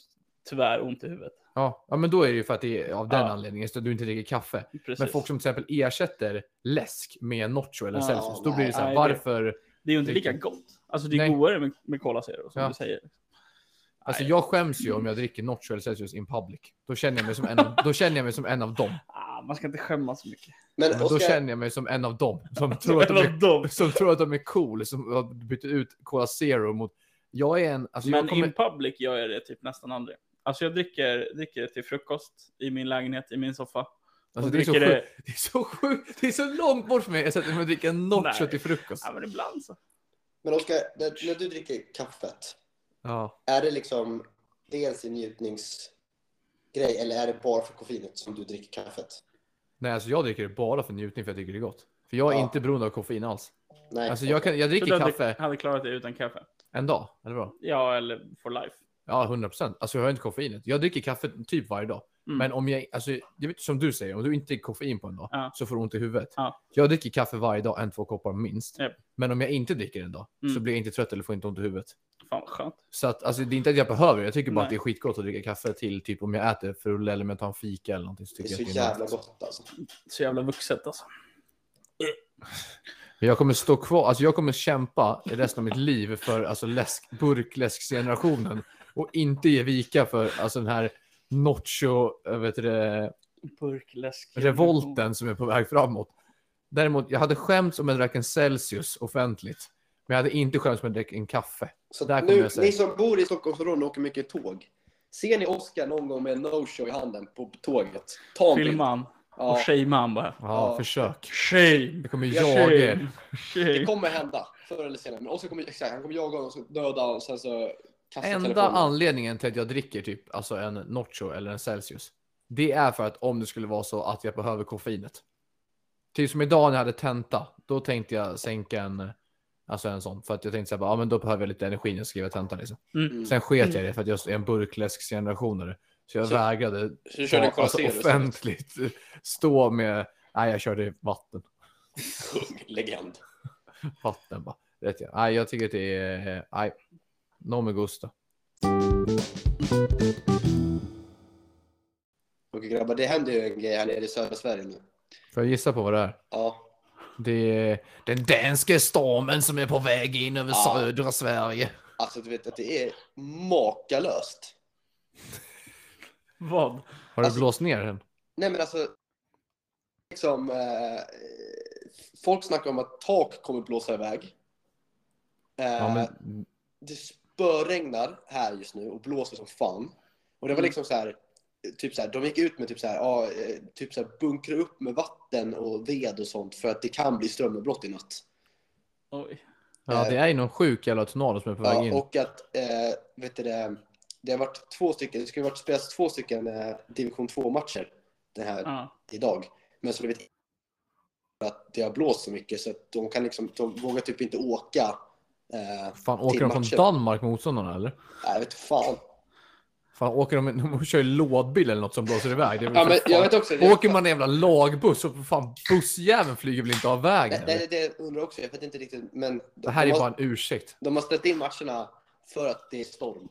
S1: tyvärr ont i huvudet.
S2: Ja, ja, men då är det ju för att det är av den
S1: Ja.
S2: anledningen, så att du inte dricker kaffe.
S1: Precis.
S2: Men folk som till exempel ersätter läsk med Nocco eller
S1: Ja,
S2: Celsius, då blir det så här,
S1: nej.
S2: varför?
S1: Det är ju inte lika gott. Alltså det är
S2: Nej.
S1: godare med, med Cola Zero som
S2: Ja.
S1: du säger.
S2: Alltså jag skäms ju om jag dricker Nocco eller Celsius in public. Då känner jag mig som en av, då känner jag mig som en av dem.
S1: Ah, man ska inte skämmas så mycket.
S3: Men
S2: Men då
S3: Oskar,
S2: känner jag mig som en av dem som tror
S1: Tror
S2: att de är,
S1: dem.
S2: som tror att de är cool, som har bytt ut Cola Zero mot... Jag är en... Alltså
S1: Men
S2: jag kommer,
S1: in public gör jag det typ nästan aldrig. Alltså jag dricker, dricker det till frukost i min lägenhet, i min soffa.
S2: alltså
S1: och
S2: det, är så
S1: dricker
S2: sjukt, det är så sjukt. Det är så långt bort för mig. Jag sätter mig och dricker en Nocco
S1: Nej.
S2: till frukost.
S1: Ja men ibland så.
S3: men Oskar när, när du dricker kaffet,
S2: Ja.
S3: är det liksom dels en njutningsgrej eller är det bara för koffeinet som du dricker kaffet?
S2: Nej, alltså jag dricker det bara för njutning för jag tycker det är gott. För jag är
S3: Ja.
S2: inte beroende av koffein alls.
S3: Nej.
S2: Alltså jag, kan, jag dricker
S1: så du hade-
S2: kaffe
S1: hade klarat det utan kaffe.
S2: en dag. Eller bra?
S1: Ja eller for life.
S2: Ja, 100 procent. Alltså jag har inte koffeinet. Jag dricker kaffe typ varje dag.
S1: Mm.
S2: Men om jag, alltså, jag vet, som du säger, om du inte dricker koffein på en dag
S1: Ja.
S2: så får du ont i huvudet.
S1: Ja.
S2: Jag dricker kaffe varje dag, en, två koppar minst.
S1: Japp.
S2: Men om jag inte dricker en dag så
S1: Mm.
S2: blir jag inte trött eller får inte ont i huvudet.
S1: Fan vad skönt.
S2: Så att, alltså, det är inte att jag behöver det. Jag tycker bara
S1: Nej.
S2: att det är skitgott att dricka kaffe till typ om jag äter frulle eller om jag tar en fika eller någonting. Så
S3: det är
S2: tycker
S3: så
S2: jag att det är
S3: jävla
S2: nice.
S3: gott alltså.
S1: Så jävla vuxet alltså.
S2: Jag kommer stå kvar, alltså jag kommer kämpa i resten av mitt liv för alltså läsk, burkläskgenerationen och inte ge vika för alltså den här nacho, eh, vet du det,
S1: Burkläsk.
S2: revolten som är på väg framåt. Däremot, jag hade skämts om jag drack en Celsius offentligt, men jag hade inte skämts om jag drack en kaffe.
S3: Så
S2: Där
S3: att
S2: kommer
S3: nu,
S2: jag säga.
S3: ni som bor i Stockholmsområdet och åker mycket tåg. Ser ni Oskar någon gång med en no-show i handen på tåget? Ta en bild.
S1: Filma han och
S3: Ja,
S1: shamea han bara.
S2: Ja,
S3: Ja.
S2: försök.
S1: Shame.
S2: Jag kommer
S3: Jag
S2: jaga er.
S3: det
S1: Shame.
S3: kommer hända förr eller senare. Men Oskar kommer, exakt, han kommer jaga honom och så döda honom och sen så kasta
S2: Enda
S3: telefonen.
S2: anledningen till att jag dricker typ alltså en Nacho eller en Celsius. Det är för att om det skulle vara så att jag behöver koffeinet. Typ som idag när jag hade tenta. Då tänkte jag sänka en, alltså en sån. För att jag tänkte så här, bara, ja men då behöver jag lite energi när jag skriver tenta liksom.
S1: Mm.
S2: Sen sket jag i det för att jag är en burkläskgenerationare. Så jag
S3: Så-
S2: vägrade
S3: Så du körde en
S2: ta, alltså,
S3: Cola Zero istället.
S2: offentligt stå med, nej jag körde vatten.
S3: Kung, Legend.
S2: Vatten bara. Rätt jag. Nej jag tycker att det är, eh, nej. No me gusta.
S3: Okej grabbar, det händer ju en grej här nere i södra Sverige nu.
S2: Får jag gissa på vad det är?
S3: Ja.
S2: Det är den danske stormen som är på väg in över
S3: Ja.
S2: södra Sverige.
S3: Alltså du vet att det är makalöst.
S1: Vad?
S2: Har du
S3: Alltså-
S2: blåst ner den?
S3: Nej men alltså. Liksom, eh, folk snackar om att tak kommer blåsa iväg. Eh,
S2: Ja, men,
S3: Det spöregnar här just nu och blåser som fan. Och
S2: Mm.
S3: det var liksom så här. Typ så här, de gick ut med typ så här, ja, eh, typ så här bunkra upp med vatten och ved och sånt för att det kan bli strömavbrott i natt.
S1: Oj.
S2: ja, det är ju någon sjuk jävla tornado som är på väg in.
S3: Ja, och att, eh, vet du det, det har varit två stycken, det skulle ha varit spelats två stycken eh, division 2-matcher den här
S1: Ja.
S3: idag. Men så vet att det har blåst så mycket så att de kan liksom, de vågar typ inte åka. Eh,
S2: Fan, åker de från
S3: matchen.
S2: Danmark motståndarna eller?
S3: jag vet fan.
S2: Fan, åker de, de kör ju lådbil eller något som blåser iväg? Det är väl
S3: Ja,
S2: för
S3: men
S2: fan-
S3: jag vet också. Jag,
S2: Åker man en jävla lagbuss så för fan bussjäveln flyger väl inte av vägen?
S3: nej,
S2: eller?
S3: nej, det undrar jag också, jag vet inte riktigt. Men de,
S2: Det här är
S3: de,
S2: bara
S3: har,
S2: en ursäkt.
S3: de har ställt in matcherna för att det är storm.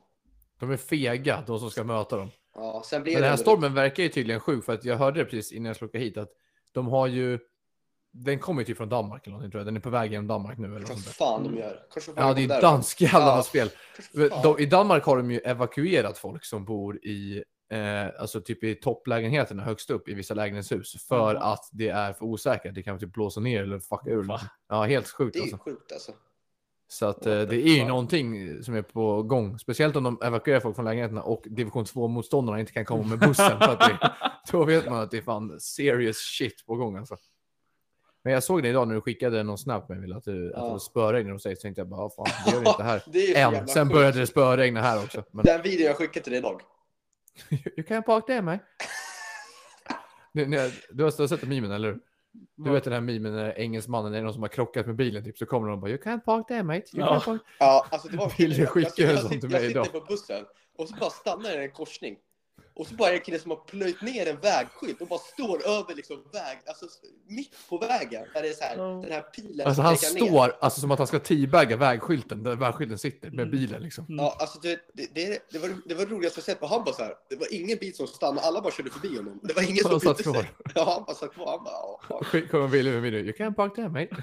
S2: De är fega, de som ska möta dem.
S3: Ja, sen blir
S2: Men
S3: det
S2: den här
S3: väl-
S2: stormen verkar ju tydligen sjuk för att jag hörde det precis innan jag skulle åka hit att de har ju. Den kommer ju typ från Danmark eller någonting tror jag. Den är på väg genom Danmark nu eller något
S3: Vad
S2: sånt där.
S3: fan de gör. Kanske får
S2: Ja,
S3: de
S2: det är ju
S3: där.
S2: dansk jävlarnas
S3: Ja.
S2: spel.
S3: Kanske fan.
S2: De, I Danmark har de ju evakuerat folk som bor i eh, alltså typ i topplägenheterna högst upp i vissa lägenhetshus för
S1: Mhm.
S2: att det är för osäkert. Det kan typ blåsa ner eller fucka ur.
S1: Va?
S2: Liksom. Ja, helt sjukt
S3: Det är ju
S2: alltså.
S3: sjukt alltså.
S2: Så att eh, det är ju någonting som är på gång. Speciellt om de evakuerar folk från lägenheterna och division 2-motståndarna inte kan komma med bussen. För att det, då vet man att det är fan serious shit på gång alltså. Men jag såg det idag när du skickade någon snap med mig att, du- att
S3: Ja.
S2: det spöregnade hos dig. Så tänkte jag bara, "Ah, fan det gör det inte här.
S3: Det är ju så jävla
S2: Än. Sen
S3: sjukt.
S2: började det spöregna här också. Men
S3: Den videon jag skickade till dig idag.
S2: you can park there man. Du, när jag- du har du har sett memen eller hur? Du
S1: Vad?
S2: vet den här memen när engelsmannen, det är någon som har krockat med bilen typ, så kommer de och bara you can't park there mate. You
S1: Ja.
S2: can't park.
S3: Ja, alltså det var
S2: Ville skicka
S3: jag,
S2: en
S3: jag,
S2: sån till
S3: sitter-
S2: mig
S3: jag sitter
S2: idag.
S3: på bussen och så bara stannar jag i en korsning. Och så bara är det en kille som har plöjt ner en vägskylt och bara står över liksom väg, alltså mitt på vägen. Där det är så här,
S1: Ja.
S3: den här pilen
S2: Alltså
S3: som
S2: han
S3: pekar ner.
S2: står alltså som att han ska teabagga vägskylten där vägskylten sitter med
S1: Mm.
S2: bilen liksom.
S3: Ja, alltså det, det, det, det, var, det var det roligaste jag sett på han bara så här. Det var ingen bil som stannade, alla bara körde förbi honom. Det var ingen
S2: Han
S3: som
S2: satt
S3: brydde sig.
S2: kvar.
S3: Ja, han bara satt kvar. Han bara, ja, ja.
S2: Skick- Kommer bilen med video. You can't park there mate.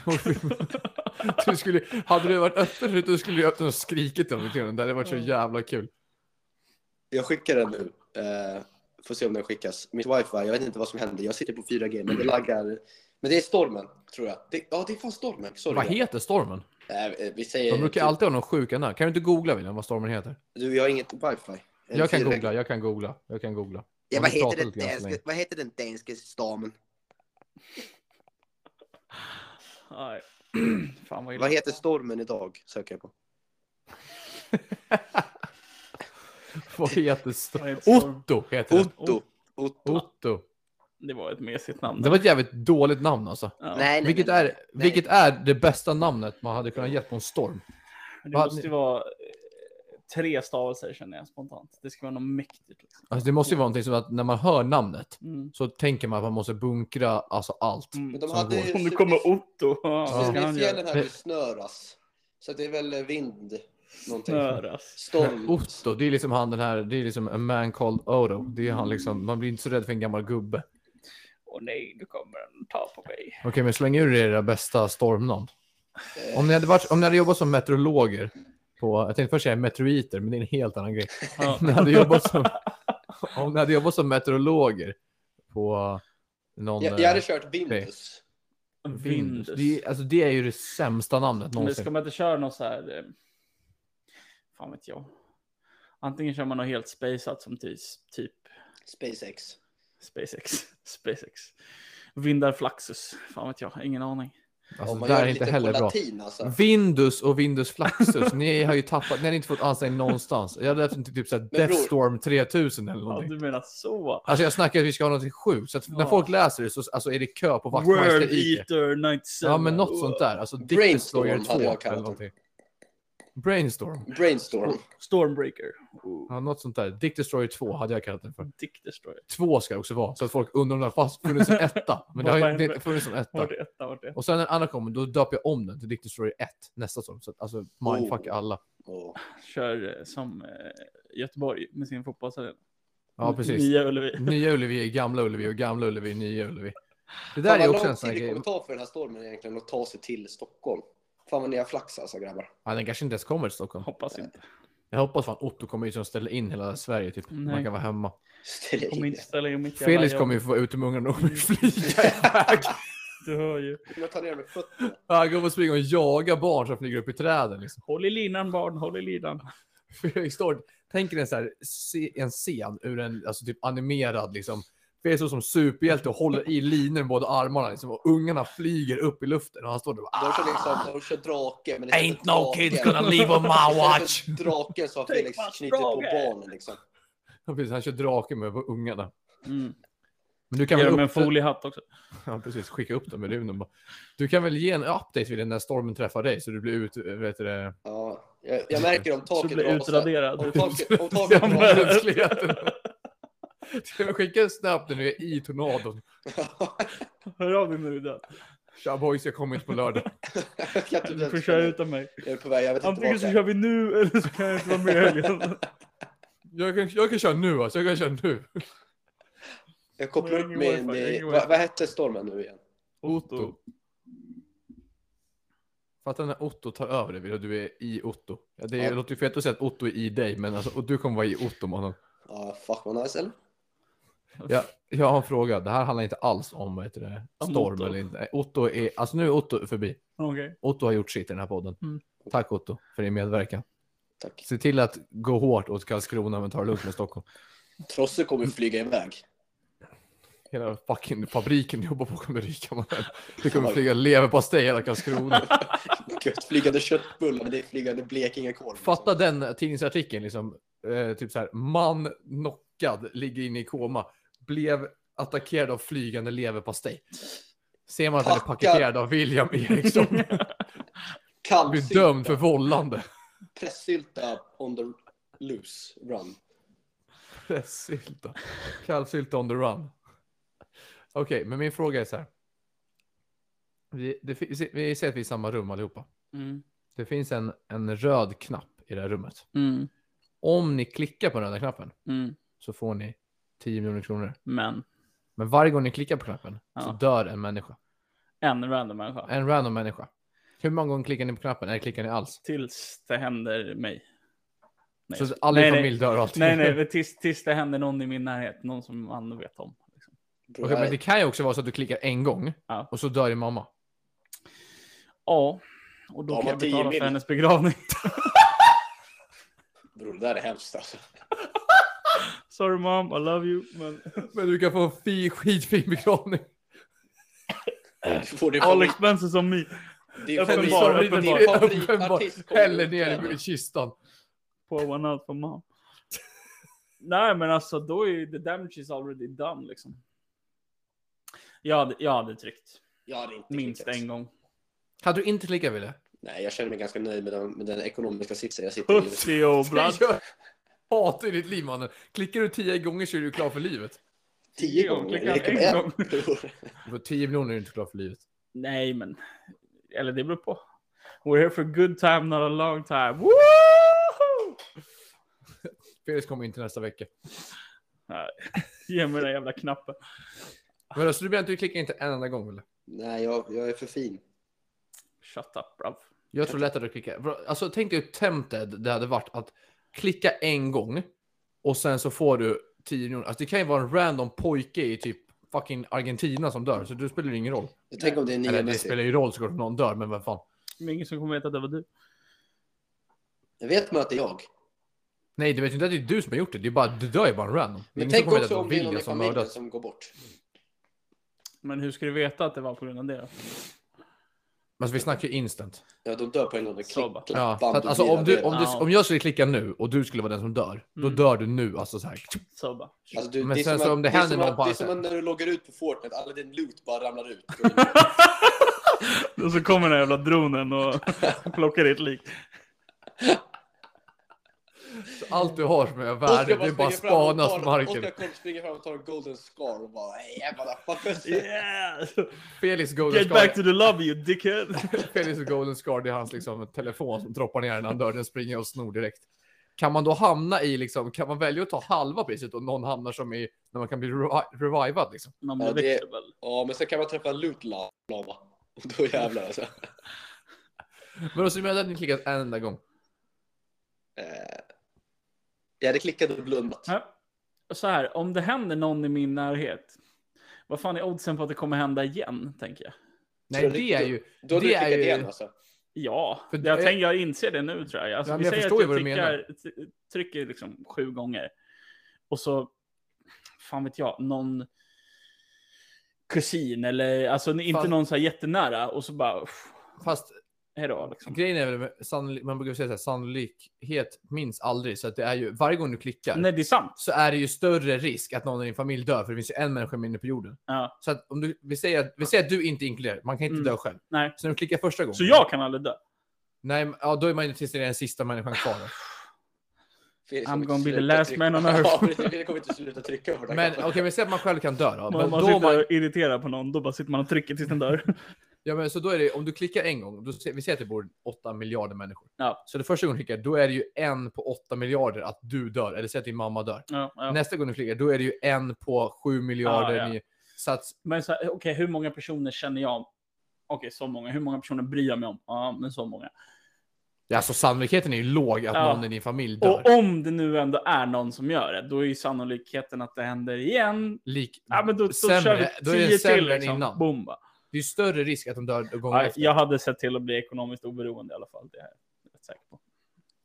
S2: du skulle, hade du varit öppen ute skulle du öppnat och skrikit om det till honom. Det hade varit så jävla kul.
S3: Jag skickar den nu. Eh, får se om den skickas. Mitt wifi, jag vet inte vad som händer. Jag sitter på 4G, men det laggar. Men det är stormen, tror jag. Det, ja, det är fan stormen. Sorry.
S2: Vad heter stormen?
S3: Eh, eh, vi säger...
S2: De brukar alltid ha någon sjuka namn. Kan du inte googla William vad stormen heter?
S3: Du, jag har inget wifi. Eller
S2: Jag kan
S3: 4G.
S2: googla, jag kan googla, jag kan googla.
S3: Ja,
S2: Har
S3: vad,
S2: vi pratat
S3: heter den
S2: lite grann så länge?
S3: danske, vad heter den danske stormen?
S1: Nej. Fan vad illa.
S3: Vad heter stormen idag? Söker jag på.
S2: Vad heter st-
S1: Vad heter storm?
S2: Otto heter den.
S3: Otto. Otto.
S2: Otto.
S1: Det var ett mesigt namn.
S2: Det var ett jävligt dåligt namn alltså.
S1: Ja.
S3: Nej, nej,
S2: Vilket
S3: nej,
S2: är,
S3: nej.
S2: vilket är det bästa namnet man hade kunnat gett på en storm.
S1: Men Det
S2: Vad-
S1: måste ju vara eh, tre stavelser känner jag spontant. Det ska vara något mäktigt. Liksom.
S2: Alltså, det måste ju vara någonting som att när man hör namnet
S1: Mm.
S2: så tänker man att man måste bunkra alltså allt.
S1: Mm.
S3: Men de
S2: Som
S3: hade
S2: går.
S1: Om det kommer Otto, ja, vad ska han göra?
S3: Snöfjällen här nu snöras. Så det är väl vind, någonting.
S1: Snöras.
S3: Storm.
S2: Otto, det är liksom han den här, det är liksom a man called Otto. Det är han liksom, man blir inte så rädd för en gammal gubbe.
S1: Åh nej, nu kommer den ta på mig.
S2: Okej, men släng ur era bästa stormnamn.
S3: Eh,
S2: Om ni hade, varit, om ni hade jobbat som meteorologer, på, jag tänkte först säga meteoriter, men det är en helt annan grej.
S1: Ja.
S2: Om ni hade jobbat som, om ni hade jobbat som meteorologer på någon...
S3: jag, jag hade
S2: eh,
S3: kört Vindus.
S2: Vindus.
S1: Vindus.
S2: Det, är- alltså, det är ju det sämsta namnet
S1: Men
S2: någonsin.
S1: ska man inte köra något så här... eh, Fan vet jag. Antingen kör man något helt spaceat som typ, typ
S3: SpaceX.
S1: SpaceX. Spacex. Vindar flaxus. Fan vet jag. Ingen aning.
S2: Alltså,
S3: Om man
S2: det där
S3: gör
S2: är
S3: det
S2: inte
S3: lite
S2: heller
S3: på
S2: bra.
S3: latin alltså.
S2: Windows och Windows Flaxus, ni har ju tappat, ni har inte fått anställning någonstans. Jag hade haft typ, typ såhär
S3: bror-
S2: Deathstorm 3000 eller
S1: Ja,
S2: någonting.
S1: du menar så.
S2: Alltså jag snackar att vi ska ha något till sju, så att när
S1: Ja.
S2: folk läser det så alltså, är det kö på
S1: World
S2: vaktmästare IK.
S1: Eater 97.
S2: Ja men något sånt där, alltså Dick
S3: Brainstorm
S2: Destroyer 2
S3: hade jag
S2: eller
S3: kallat
S2: någonting. Brainstorm,
S3: Brainstorm.
S1: Stormbreaker. Oh.
S2: ja, något sånt där. Dick Destroyer 2 hade jag kallat den för.
S1: Dick Destroyer.
S2: Två ska det också vara, så att folk undrar om det har fast funnits som etta. Men det har ju det har inte funnits som etta.
S1: Vart är etta? Vart är etta?
S2: Och sen när andra kommer, då döper jag om den till Dick Destroyer 1 nästa storm. Så att, alltså mindfuck
S3: Oh.
S2: alla.
S3: Åh.
S1: Kör eh, som eh, Göteborg med sin fotbollsarena.
S2: Ja precis.
S1: Nya Ullevi.
S2: Nya Ullevi, gamla Ullevi och gamla Ullevi, nya Ullevi. Det där
S3: Fan
S2: är
S3: vad
S2: också en
S3: lång
S2: sån
S3: tid
S2: här
S3: det
S2: grej.
S3: kommer ta för den här stormen egentligen att ta sig till Stockholm. Fan vad ni har flax alltså grabbar.
S2: Ja, den kanske inte ens kommer till Stockholm.
S1: Hoppas inte.
S2: Jag hoppas fan Otto kommer hit som ställer in hela Sverige typ. Man
S1: Nej.
S2: kan vara hemma.
S3: Ställer in
S1: Kommer inte
S3: det.
S1: ställa in mitt
S2: Felix
S1: jobb.
S2: kommer ju få vara ute med ungarna och
S3: Mm.
S2: flyga iväg.
S1: Du hör ju.
S3: Jag tar ner med fötterna.
S2: Han kommer springa och jaga barn som flyger upp i träden. Liksom.
S1: Håll i linan barn, håll i linan.
S2: Felix står, tänk dig en, så här, se- en scen ur en alltså, typ animerad liksom. Felix står som superhjälte och håller i linor med båda armarna liksom, och ungarna flyger upp i luften och han står där och bara,
S3: De kör liksom, de kör drake. Men det
S2: Ain't no kids gonna
S3: leave
S2: leave on my watch.
S3: Draken som
S1: Take
S3: Felix
S1: my
S3: knutit på
S1: strong ass.
S3: barnen liksom.
S2: Ja, precis, han kör drake med ungarna.
S1: Mm.
S2: Men du kan
S1: Ge
S2: väl
S1: dem en
S2: upp...
S1: foliehatt också.
S2: ja, precis, skicka upp dem i rymden. bara. Du kan väl ge en update vid den när stormen träffar dig så du blir ut... Vet du, det,
S3: Ja, jag, jag märker om
S1: Så
S3: taket
S1: blir
S3: rasar.
S1: utraderad.
S3: Om taket, om taket
S2: Ja,
S1: men-
S3: rasar.
S2: mänskligheten. Du kan väl skicka en snap när du är i tornadon.
S1: Hör av dig nu
S3: Typ
S1: då.
S2: Tja boys, jag kommer inte på lördag.
S3: jag, kan
S1: Du
S3: inte
S1: får köra utan mig.
S3: jag är på väg, jag vet inte
S1: Antingen
S3: vart
S1: så
S3: jag
S1: kör
S3: är.
S1: vi nu eller så kan jag inte vara med i helgen.
S2: Jag kan, jag kan köra nu alltså, jag kan köra nu.
S3: Jag kopplar upp
S1: Ingen
S3: min...
S1: wifi, ingen
S3: Vad,
S1: wifi.
S3: vad hette stormen nu igen?
S2: Otto. Fatta när Otto tar över dig och du är i Otto. Ja, det är,
S3: Ja.
S2: låter ju fett att säga att Otto är i dig, men alltså, och du kommer vara i Otto mannen.
S3: Ja, fuck vad nice eller?
S2: Jag, jag har en fråga, det här handlar inte alls om vad heter det,
S1: Om
S2: storm
S1: Otto.
S2: eller inte. Nej, Otto är, alltså nu är Otto förbi.
S1: Okej.
S2: Otto har gjort sitt i den här podden.
S1: Mm.
S2: Tack Otto för din medverkan.
S3: Tack.
S2: Se till att gå hårt åt Karlskrona men ta det lugnt med Stockholm.
S3: Trosse kommer flyga iväg.
S2: Hela fucking fabriken du jobbar på kommer ryka. Man. Det kommer flyga leverpastej i hela Karlskrona.
S3: Gud, flygande köttbullar, det är flygande Blekingekorv. liksom.
S2: Fatta den eh, tidningsartikeln, liksom, eh, typ så här, man knockad, ligger inne i koma, blev attackerad av flygande leverpastej. Ser man att han är
S3: Packad.
S2: paketerad av William Eriksson, blir
S3: Kallsylta,
S2: dömd för vållande.
S3: pressylta on the loose run.
S2: Pressylta. Kallsylta on the run. Okej, men min fråga är så här. Vi, det, finns- vi ser att vi är i samma rum allihopa.
S1: Mm.
S2: Det finns en, en röd knapp i det här rummet.
S1: Mm.
S2: Om ni klickar på den röda knappen
S1: Mm.
S2: så får ni 10 miljoner kronor.
S1: Men
S2: Men varje gång ni klickar på knappen så
S1: Ja.
S2: dör en människa.
S1: en random människa.
S2: En random människa. Hur många gånger klickar ni på knappen? Eller klickar ni alls?
S1: Tills det händer mig. Nej.
S2: Så alla i
S1: Nej, nej.
S2: familj dör alltid.
S1: Nej, nej, men tills, tills det händer någon i min närhet. Någon som man vet om. Liksom.
S3: Bro,
S2: Okej, men det
S3: jag-
S2: kan ju också vara så att du klickar en gång
S1: Ja.
S2: och så dör din mamma.
S1: Ja, och då
S3: Ja,
S1: kan
S3: men
S1: jag
S3: 10
S1: betala
S3: mil.
S1: för hennes begravning.
S3: Bro, det där är hemskt alltså.
S1: Sorry mom, I love you. Men...
S2: Men du kan få en fi, skitfin begravning.
S3: Du får din
S1: All
S3: favorit-
S1: expenses on me.
S3: din
S1: Äh. Uppenbar,
S3: favorit-
S1: uppenbar.
S3: din favoritartist kommer
S2: Häller ner i
S3: uppträda.
S2: kistan.
S1: Pour one out for mom. Nej, men alltså då är ju the damage is already done liksom. Jag hade, jag hade tryckt
S3: Jag hade inte
S1: minst
S3: lyckats.
S1: en gång.
S2: Hade du inte klickat Wille?
S3: Nej, jag känner mig ganska nöjd med den, med den ekonomiska sitsen jag sitter i. just nu.
S1: Pussy och blood.
S2: Jag hatar i ditt liv mannen. Klickar du tio gånger så är du klar för livet.
S3: Tio
S1: Jo,
S3: gånger.
S1: klicka
S3: det räcker
S1: en
S3: med
S1: gång.
S3: bror.
S2: För tio miljoner är du inte klar för livet.
S1: Nej, men. Eller det beror på. We're here for a good time, not a long time. Woo!
S2: Felix kommer inte nästa vecka.
S1: Ge mig den jävla knappen.
S2: Men alltså, du menar att du klickar inte en enda gång Wille?
S3: Nej, jag, jag är för fin.
S1: Shut up, bruv.
S2: Jag tror lätt att du klickar. Alltså tänk dig hur tempted det hade varit att klicka en gång och sen så får du 10 miljoner. Alltså det kan ju vara en random pojke i typ fucking Argentina som dör, så det spelar ju ingen roll.
S3: Jag tänker om det är nya
S2: Eller det
S3: Messi.
S2: spelar ju roll såklart om någon dör, men vem fan.
S1: Det är ingen som kommer veta att det var du.
S3: Jag vet man att det är jag.
S2: Nej, du vet ju inte att det är du som har gjort det. Det är bara, du dör ju bara random. Det är
S3: Men
S2: ingen
S3: tänk
S2: som kommer veta
S3: också
S2: att
S3: om det är
S2: William
S3: någon i
S2: som
S3: familjen
S2: mördas.
S3: som går bort.
S1: Men hur ska du veta att det var på grund av det då?
S2: Alltså vi snackar ju instant.
S3: Ja, de dör på en gång. De klick,
S1: Så bara.
S3: klappar,
S2: Ja, så att, alltså om du, om, du,
S1: Ja.
S2: om jag skulle klicka nu och du skulle vara den som dör, då
S1: Mm.
S2: dör du nu. Alltså så här.
S1: Så bara.
S3: Alltså, du,
S2: Men
S3: är
S2: sen
S3: som
S2: så
S3: att-
S2: om det
S3: är
S2: händer
S3: som
S2: någon
S3: att-
S2: bara
S3: Det är
S2: så
S3: som
S2: här-
S3: att när du loggar ut på Fortnite, all din loot bara ramlar ut. Alltså-
S1: Och så kommer den jävla dronen och plockar ditt lik.
S2: Så Allt du har som är värde, det är bara spanas på marken.
S3: Oskar Korp springer fram och tar en golden scar och bara "Hey, jävlar, fuckers."
S1: Yeah!
S2: Felix Golden
S1: Get
S2: Scar.
S1: back to the lobby you dickhead!
S2: Felix Golden Scar, det är hans liksom, telefon som droppar ner när han dör. Den springer och snor direkt. Kan man då hamna i, liksom, kan man välja att ta halva priset och någon hamnar som i, när man kan bli revi- revivad liksom?
S1: Någon
S3: Ja,
S1: blir
S3: det-
S1: växelbäll.
S3: Ja, men sen kan man träffa en loot lava. Och då jävlar alltså.
S2: Men då så menar jag att ni klickat en enda gång.
S3: Eh, Jag hade klickat och blundat.
S1: Ja. Och Så här, om det händer någon i min närhet. Vad fan är oddsen på att det kommer hända igen, tänker jag.
S2: Nej,
S3: Tror du-
S2: det är ju...
S3: Då hade
S2: Det
S3: du
S2: är
S3: klickat
S2: ju-
S3: igen alltså.
S1: Ja,
S2: För
S1: jag,
S2: det-
S1: tänker, jag inser det nu tror jag. Alltså,
S2: Ja, men
S1: vi
S2: jag
S1: säger
S2: förstår
S1: att
S2: ju vad du
S1: klickar- t- trycker liksom sju gånger. Och så, fan vet jag, någon kusin eller alltså inte
S2: Fan.
S1: någon så här jättenära och så bara, pff,
S2: Fast
S1: hejdå liksom.
S2: grejen är väl, med sannolik- man brukar säga så här, sannolikhet minns aldrig. Så att det är ju, varje gång du klickar
S1: Nej, det är sant.
S2: så är det ju större risk att någon i din familj dör, för det finns ju en människa mindre på jorden.
S1: Ja.
S2: Så att om du, vi säger att, vi säger att du inte inkluderar, man kan inte
S1: Mm.
S2: dö själv.
S1: Nej.
S2: Så när du klickar första gången.
S1: Så jag kan aldrig dö.
S2: Nej, men- ja, då är man ju tills det är den sista människan kvar. då.
S3: Felix
S1: I'm
S3: kommer
S1: gonna
S3: inte
S1: be the
S3: sluta
S1: last
S3: trycka-
S1: man on earth.
S3: Ja, precis. Felix kommer inte sluta trycka på den
S2: Men
S3: här
S2: okej,
S3: knappen.
S2: men säg att man själv kan dö då.
S1: Man,
S2: Men
S1: man
S2: då
S1: sitter
S2: man,
S1: och irriterar på någon, då bara sitter man och trycker tills den dör.
S2: ja, men så då är det, om du klickar en gång, då, ser- vi säger att det bor 8 miljarder människor.
S1: Ja.
S2: Så det första gången du klickar, då är det ju en på 8 miljarder att du dör, eller säg att din mamma dör.
S1: Ja, ja.
S2: Nästa gång du klickar, då är det ju en på 7 miljarder.
S1: Ja, ja.
S2: Ni, så att,
S1: Men så här, okej, hur många personer känner jag? Okej, så många. Hur många personer bryr jag mig om? Ja, men så många.
S2: ja, alltså sannolikheten är ju låg att
S1: Ja.
S2: någon i din familj dör.
S1: Och om det nu ändå är någon som gör det, då är ju sannolikheten att det händer igen.
S2: Lik,
S1: Ja, men då, då
S2: Sämre.
S1: kör vi
S2: Då är det
S1: tio till
S2: sämre än
S1: liksom.
S2: innan.
S1: Bomba.
S2: det är ju större risk att de dör gången
S1: Ja,
S2: efter.
S1: jag hade sett till att bli ekonomiskt oberoende i alla fall. Det här. säker på.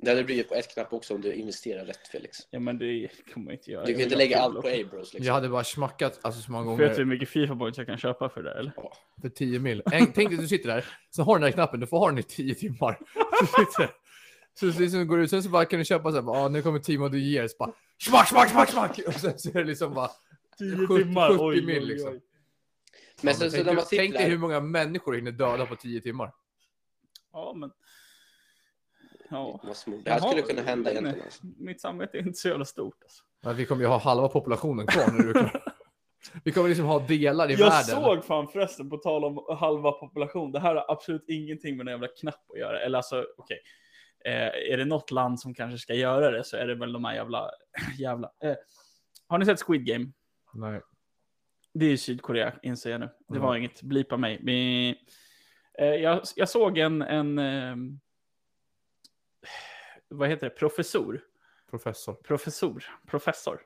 S3: Det hade blivit på ett knapp också om du investerar rätt Felix.
S1: Ja, men det kommer jag inte göra.
S3: Du kan inte lägga allt på Abros
S2: Jag
S3: liksom.
S2: hade bara smackat alltså, så många
S1: Vet du hur
S2: gånger
S1: mycket fifa boys jag kan köpa för det? Eller?
S2: för 10 mil. En, tänk dig att du sitter där, så har du den här knappen, du får ha den i 10 timmar. Så sitter du- Så så liksom går du ut, sen så bara kan du köpa så här, bara, ah, nu kommer Timo du ger, så bara smack, smack, smack, smack. Och sen så är det liksom bara,
S1: 10
S2: 70
S1: timmar, oj, oj,
S2: mil,
S1: oj.
S2: liksom.
S3: Men
S2: Ja,
S3: sen
S2: tänk,
S3: så när
S2: dig-
S3: man sitter
S2: tänk dig hur
S3: där,
S2: många människor du hinner döda på 10 timmar.
S1: Ja, men... Ja.
S3: måste man- det här
S1: Jaha,
S3: skulle kunna hända
S1: nej,
S3: egentligen.
S1: nej.
S3: Alltså.
S1: Mitt samvete är inte så jävla stort. Alltså.
S2: Men vi kommer ju ha halva populationen kvar när du är klar. Vi kommer liksom ha delar i
S1: Jag
S2: världen.
S1: såg fan förresten, på tal om halva population, det här har absolut ingenting med den jävla knapp att göra. Eller alltså, okej. Eh, är det något land som kanske ska göra det så är det väl de här jävla... jävla eh. Har ni sett Squid Game?
S2: Nej.
S1: Det är ju Sydkorea, inser jag nu. Det var
S2: Mm.
S1: inget, blipa mig. Vi, eh, jag, jag såg en, en ehm, vad heter det, professor,
S2: Professor.
S1: professor, professor,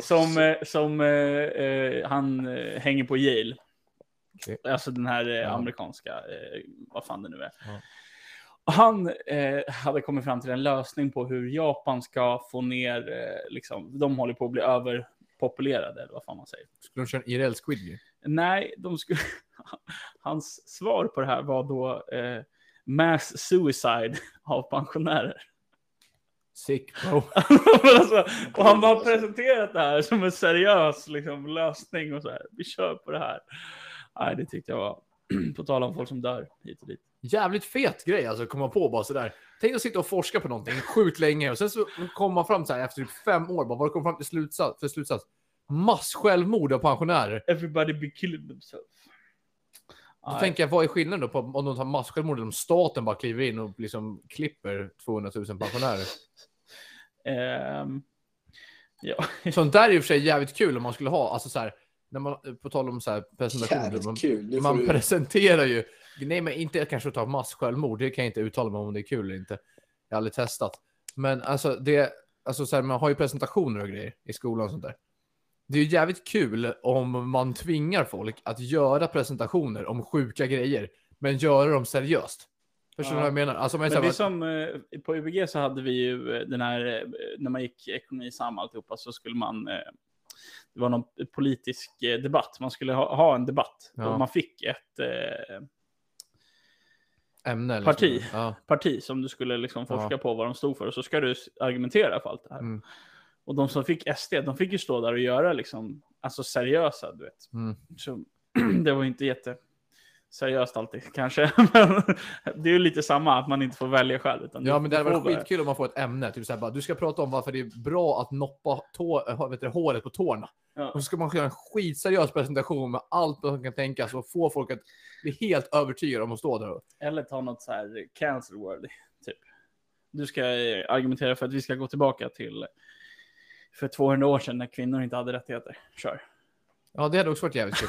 S1: som, eh, som eh, eh, han eh, hänger på Yale.
S2: Okej.
S1: Alltså den här eh,
S2: Ja.
S1: amerikanska, eh, vad fan det nu är.
S2: Ja.
S1: Och Han eh, hade kommit fram till en lösning på hur Japan ska få ner, eh, liksom, de håller på att bli överpopulerade, eller vad fan man säger.
S2: Skulle de köra en IRL Squid Game?
S1: Nej, de skulle... hans svar på det här var då eh, mass suicide av pensionärer.
S2: Sick bro.
S1: Men alltså, och han har presenterat det här som en seriös liksom, lösning och så här. Vi kör på det här. Nej, det tyckte jag var... på tal om folk som dör hit och dit.
S2: Jävligt fet grej alltså att komma på bara sådär. Tänk att sitta och forska på någonting sjukt länge och sen så kommer man fram så här efter typ fem år bara vad kom fram till slutsats för slutsats? Mass självmord av pensionärer.
S1: Everybody be killing themselves.
S2: Då
S1: Nej,
S2: tänker jag vad är skillnaden då på om de tar mass självmord eller om staten bara kliver in och liksom klipper 200 000 pensionärer?
S1: ehm, ja.
S2: Sånt där är i och för sig jävligt kul om man skulle ha alltså så här när man på tal om så här presentationer. Man,
S3: Jävligt kul. Nu får
S2: man
S3: du...
S2: presenterar ju. Nej, men inte kanske att ta mass självmord. Det kan jag inte uttala mig om det är kul eller inte. Jag har aldrig testat. Men alltså, det, alltså så här, man har ju presentationer och grejer i skolan och sånt där. Det är ju jävligt kul om man tvingar folk att göra presentationer om sjuka grejer, men göra dem seriöst. Förstår du
S1: Ja.
S2: vad jag menar? Alltså, man är
S1: Men det är
S2: så här,
S1: som eh, på UBG så hade vi ju eh, den här, eh, när man gick ekonomi sam alltihopa så skulle man, eh, det var någon politisk eh, debatt, man skulle ha, ha en debatt
S2: Ja.
S1: och man fick ett eh,
S2: ämne. eller så.
S1: parti.
S2: Ja.
S1: parti som du skulle liksom forska
S2: Ja.
S1: på vad de stod för och så ska du s- argumentera för allt det här.
S2: Mm.
S1: Och de som fick SD, de fick ju stå där och göra liksom, alltså seriösa, du vet.
S2: Mm.
S1: Så, det var ju inte jätte seriöst alltid kanske, men det är ju lite samma att man inte får välja själv. Utan
S2: Ja,
S1: du-
S2: men
S1: du
S2: det hade
S1: får bara-
S2: varit skitkul om man får ett ämne. Typ så här, bara, du ska prata om varför det är bra att noppa tå, äh, vet du, håret på tårna.
S1: Ja.
S2: Och så ska man göra en skitseriös presentation med allt som kan tänkas och få folk att bli helt övertygade om att stå där. och-
S1: Eller ta något så här cancel worthy, typ. Du ska eh, argumentera för att vi ska gå tillbaka till för 200 år sedan när kvinnor inte hade rättigheter. Kör.
S2: Ja, det hade också varit jävligt kul.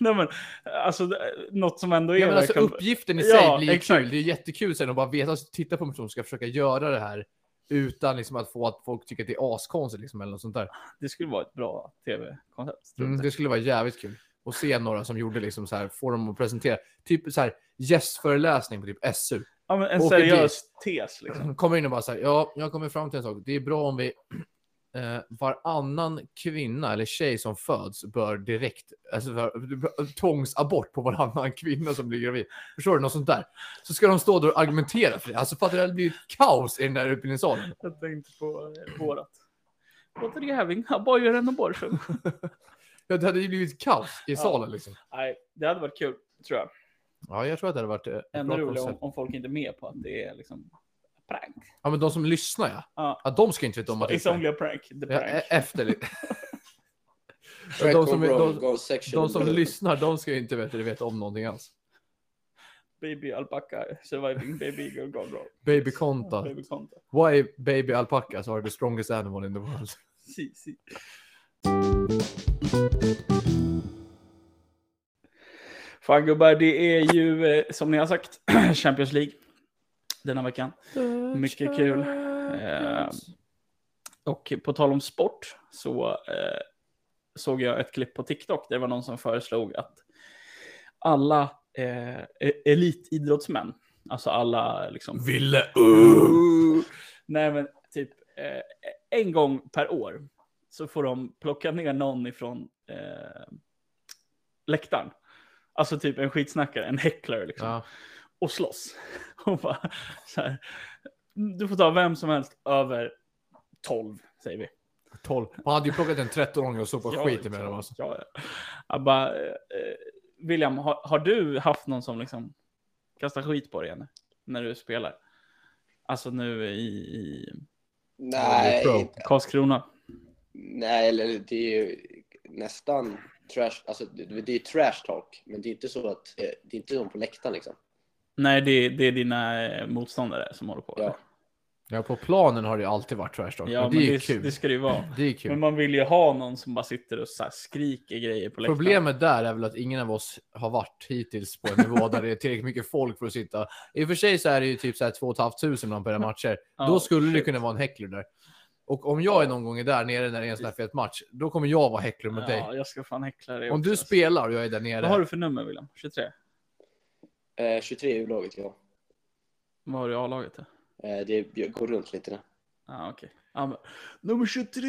S1: Nej, men alltså det- något som ändå är...
S2: ja, men alltså,
S1: verkligen-
S2: uppgiften i
S1: Ja,
S2: sig blir ju
S1: exakt.
S2: kul. Det är jättekul sen att bara veta, titta på en person som ska försöka göra det här utan liksom att få att folk tycker att det är askonstigt liksom, eller något sånt där.
S1: Det skulle vara ett bra tv-koncept. tror
S2: Mm,
S1: jag.
S2: det skulle vara jävligt kul att se några som gjorde liksom så här, få dem att presentera, typ så här gästföreläsning på typ SU.
S1: Ja, men en
S2: Åker
S1: seriös tes liksom.
S2: Hon kommer in och bara så här, ja, jag kommer fram till en sak. Det är bra om vi eh, varannan kvinna eller tjej som föds bör direkt, alltså för, tvångsabort på varannan kvinna som blir gravid. Förstår du? Något sånt där. Så ska de stå där och argumentera för det. Alltså fattar du? Det blir ju kaos i den där utbildningssalen.
S1: Jag tänkte på eh, vårat. What are you having? A boy or an abortion?
S2: Ja, det hade ju blivit kaos i
S1: Ja.
S2: salen liksom.
S1: Nej, det hade varit kul, tror jag.
S2: Ja, jag tror att det hade varit eh, ett
S1: Ännu
S2: bra
S1: roligare om,
S2: koncept.
S1: om folk inte är med på att det är liksom prank.
S2: Ja, men de som lyssnar ja.
S1: Ja.
S2: ja de ska inte veta om att det är
S1: It's
S2: prank.
S1: only a prank. The
S2: Ja,
S1: prank.
S2: e- efter.
S3: Shrek
S2: de som,
S3: or Bro,
S2: de,
S3: go section.
S2: de som lyssnar, de ska ju inte veta, veta om någonting alls.
S1: Baby alpaca, surviving baby girl gone wrong.
S2: Baby Conta.
S1: Baby conta.
S2: Why baby alpacas are the strongest animal in the world?
S1: Si, si. Fan gubbar, det är ju eh, som ni har sagt Champions League denna veckan. Mycket kul. Eh, och på tal om sport så eh, såg jag ett klipp på TikTok. Det var någon som föreslog att alla eh, e- elitidrottsmän, Alltså alla liksom.
S2: Ville.
S1: Nej men typ eh, en gång per år så får de plocka ner någon ifrån eh, läktaren. Alltså typ en skitsnackare, en häcklare liksom.
S2: Ja.
S1: Och slåss. Och bara, så här, du får ta vem som helst över 12 säger vi.
S2: 12. Han hade ju plockat en 13-åring och sopat
S1: Ja,
S2: skit i med
S1: liksom.
S2: dem alltså.
S1: Ja, ja. Jag bara, eh, eh, William, har, har du haft någon som liksom kastar skit på dig än när du spelar? Alltså nu i, i
S3: Nej,
S2: Pro.
S3: inte-
S1: Karlskrona.
S3: nej, eller det är ju nästan trash. Alltså, det, det är ju trash talk, men det är inte så att eh, det är inte de på läktaren liksom.
S1: Nej, det, det är dina eh, motståndare som håller på.
S3: Ja,
S1: eller?
S2: Ja, på planen har det ju alltid varit trash talk.
S1: ja
S2: men
S1: men
S2: det är ju
S1: det,
S2: kul.
S1: det ska det ju vara.
S2: Det är kul.
S1: Men man vill ju ha någon som bara sitter och så här skriker grejer på läktaren.
S2: Problemet där är väl att ingen av oss har varit hittills på en nivå där det är tillräckligt mycket folk för att sitta. I och för sig så är det ju typ så här 2 500 ibland på era matcher.
S1: Ja,
S2: då skulle det
S1: shit.
S2: kunna vara en häcklare där. Och om jag är någon gång är där nere när det är en sån här fet match, då kommer jag vara häcklare mot dig.
S1: Ja, jag ska fan häckla dig
S2: Om
S1: också,
S2: du
S1: alltså.
S2: spelar och jag är där nere.
S1: Vad har du för nummer, William? 23?
S3: Eh, 23 är U-laget, ja.
S1: Vad har du i A-laget? då?
S3: Eh, det jag går runt lite nu.
S1: Ja, ah, okej. Ja, men, nummer 23!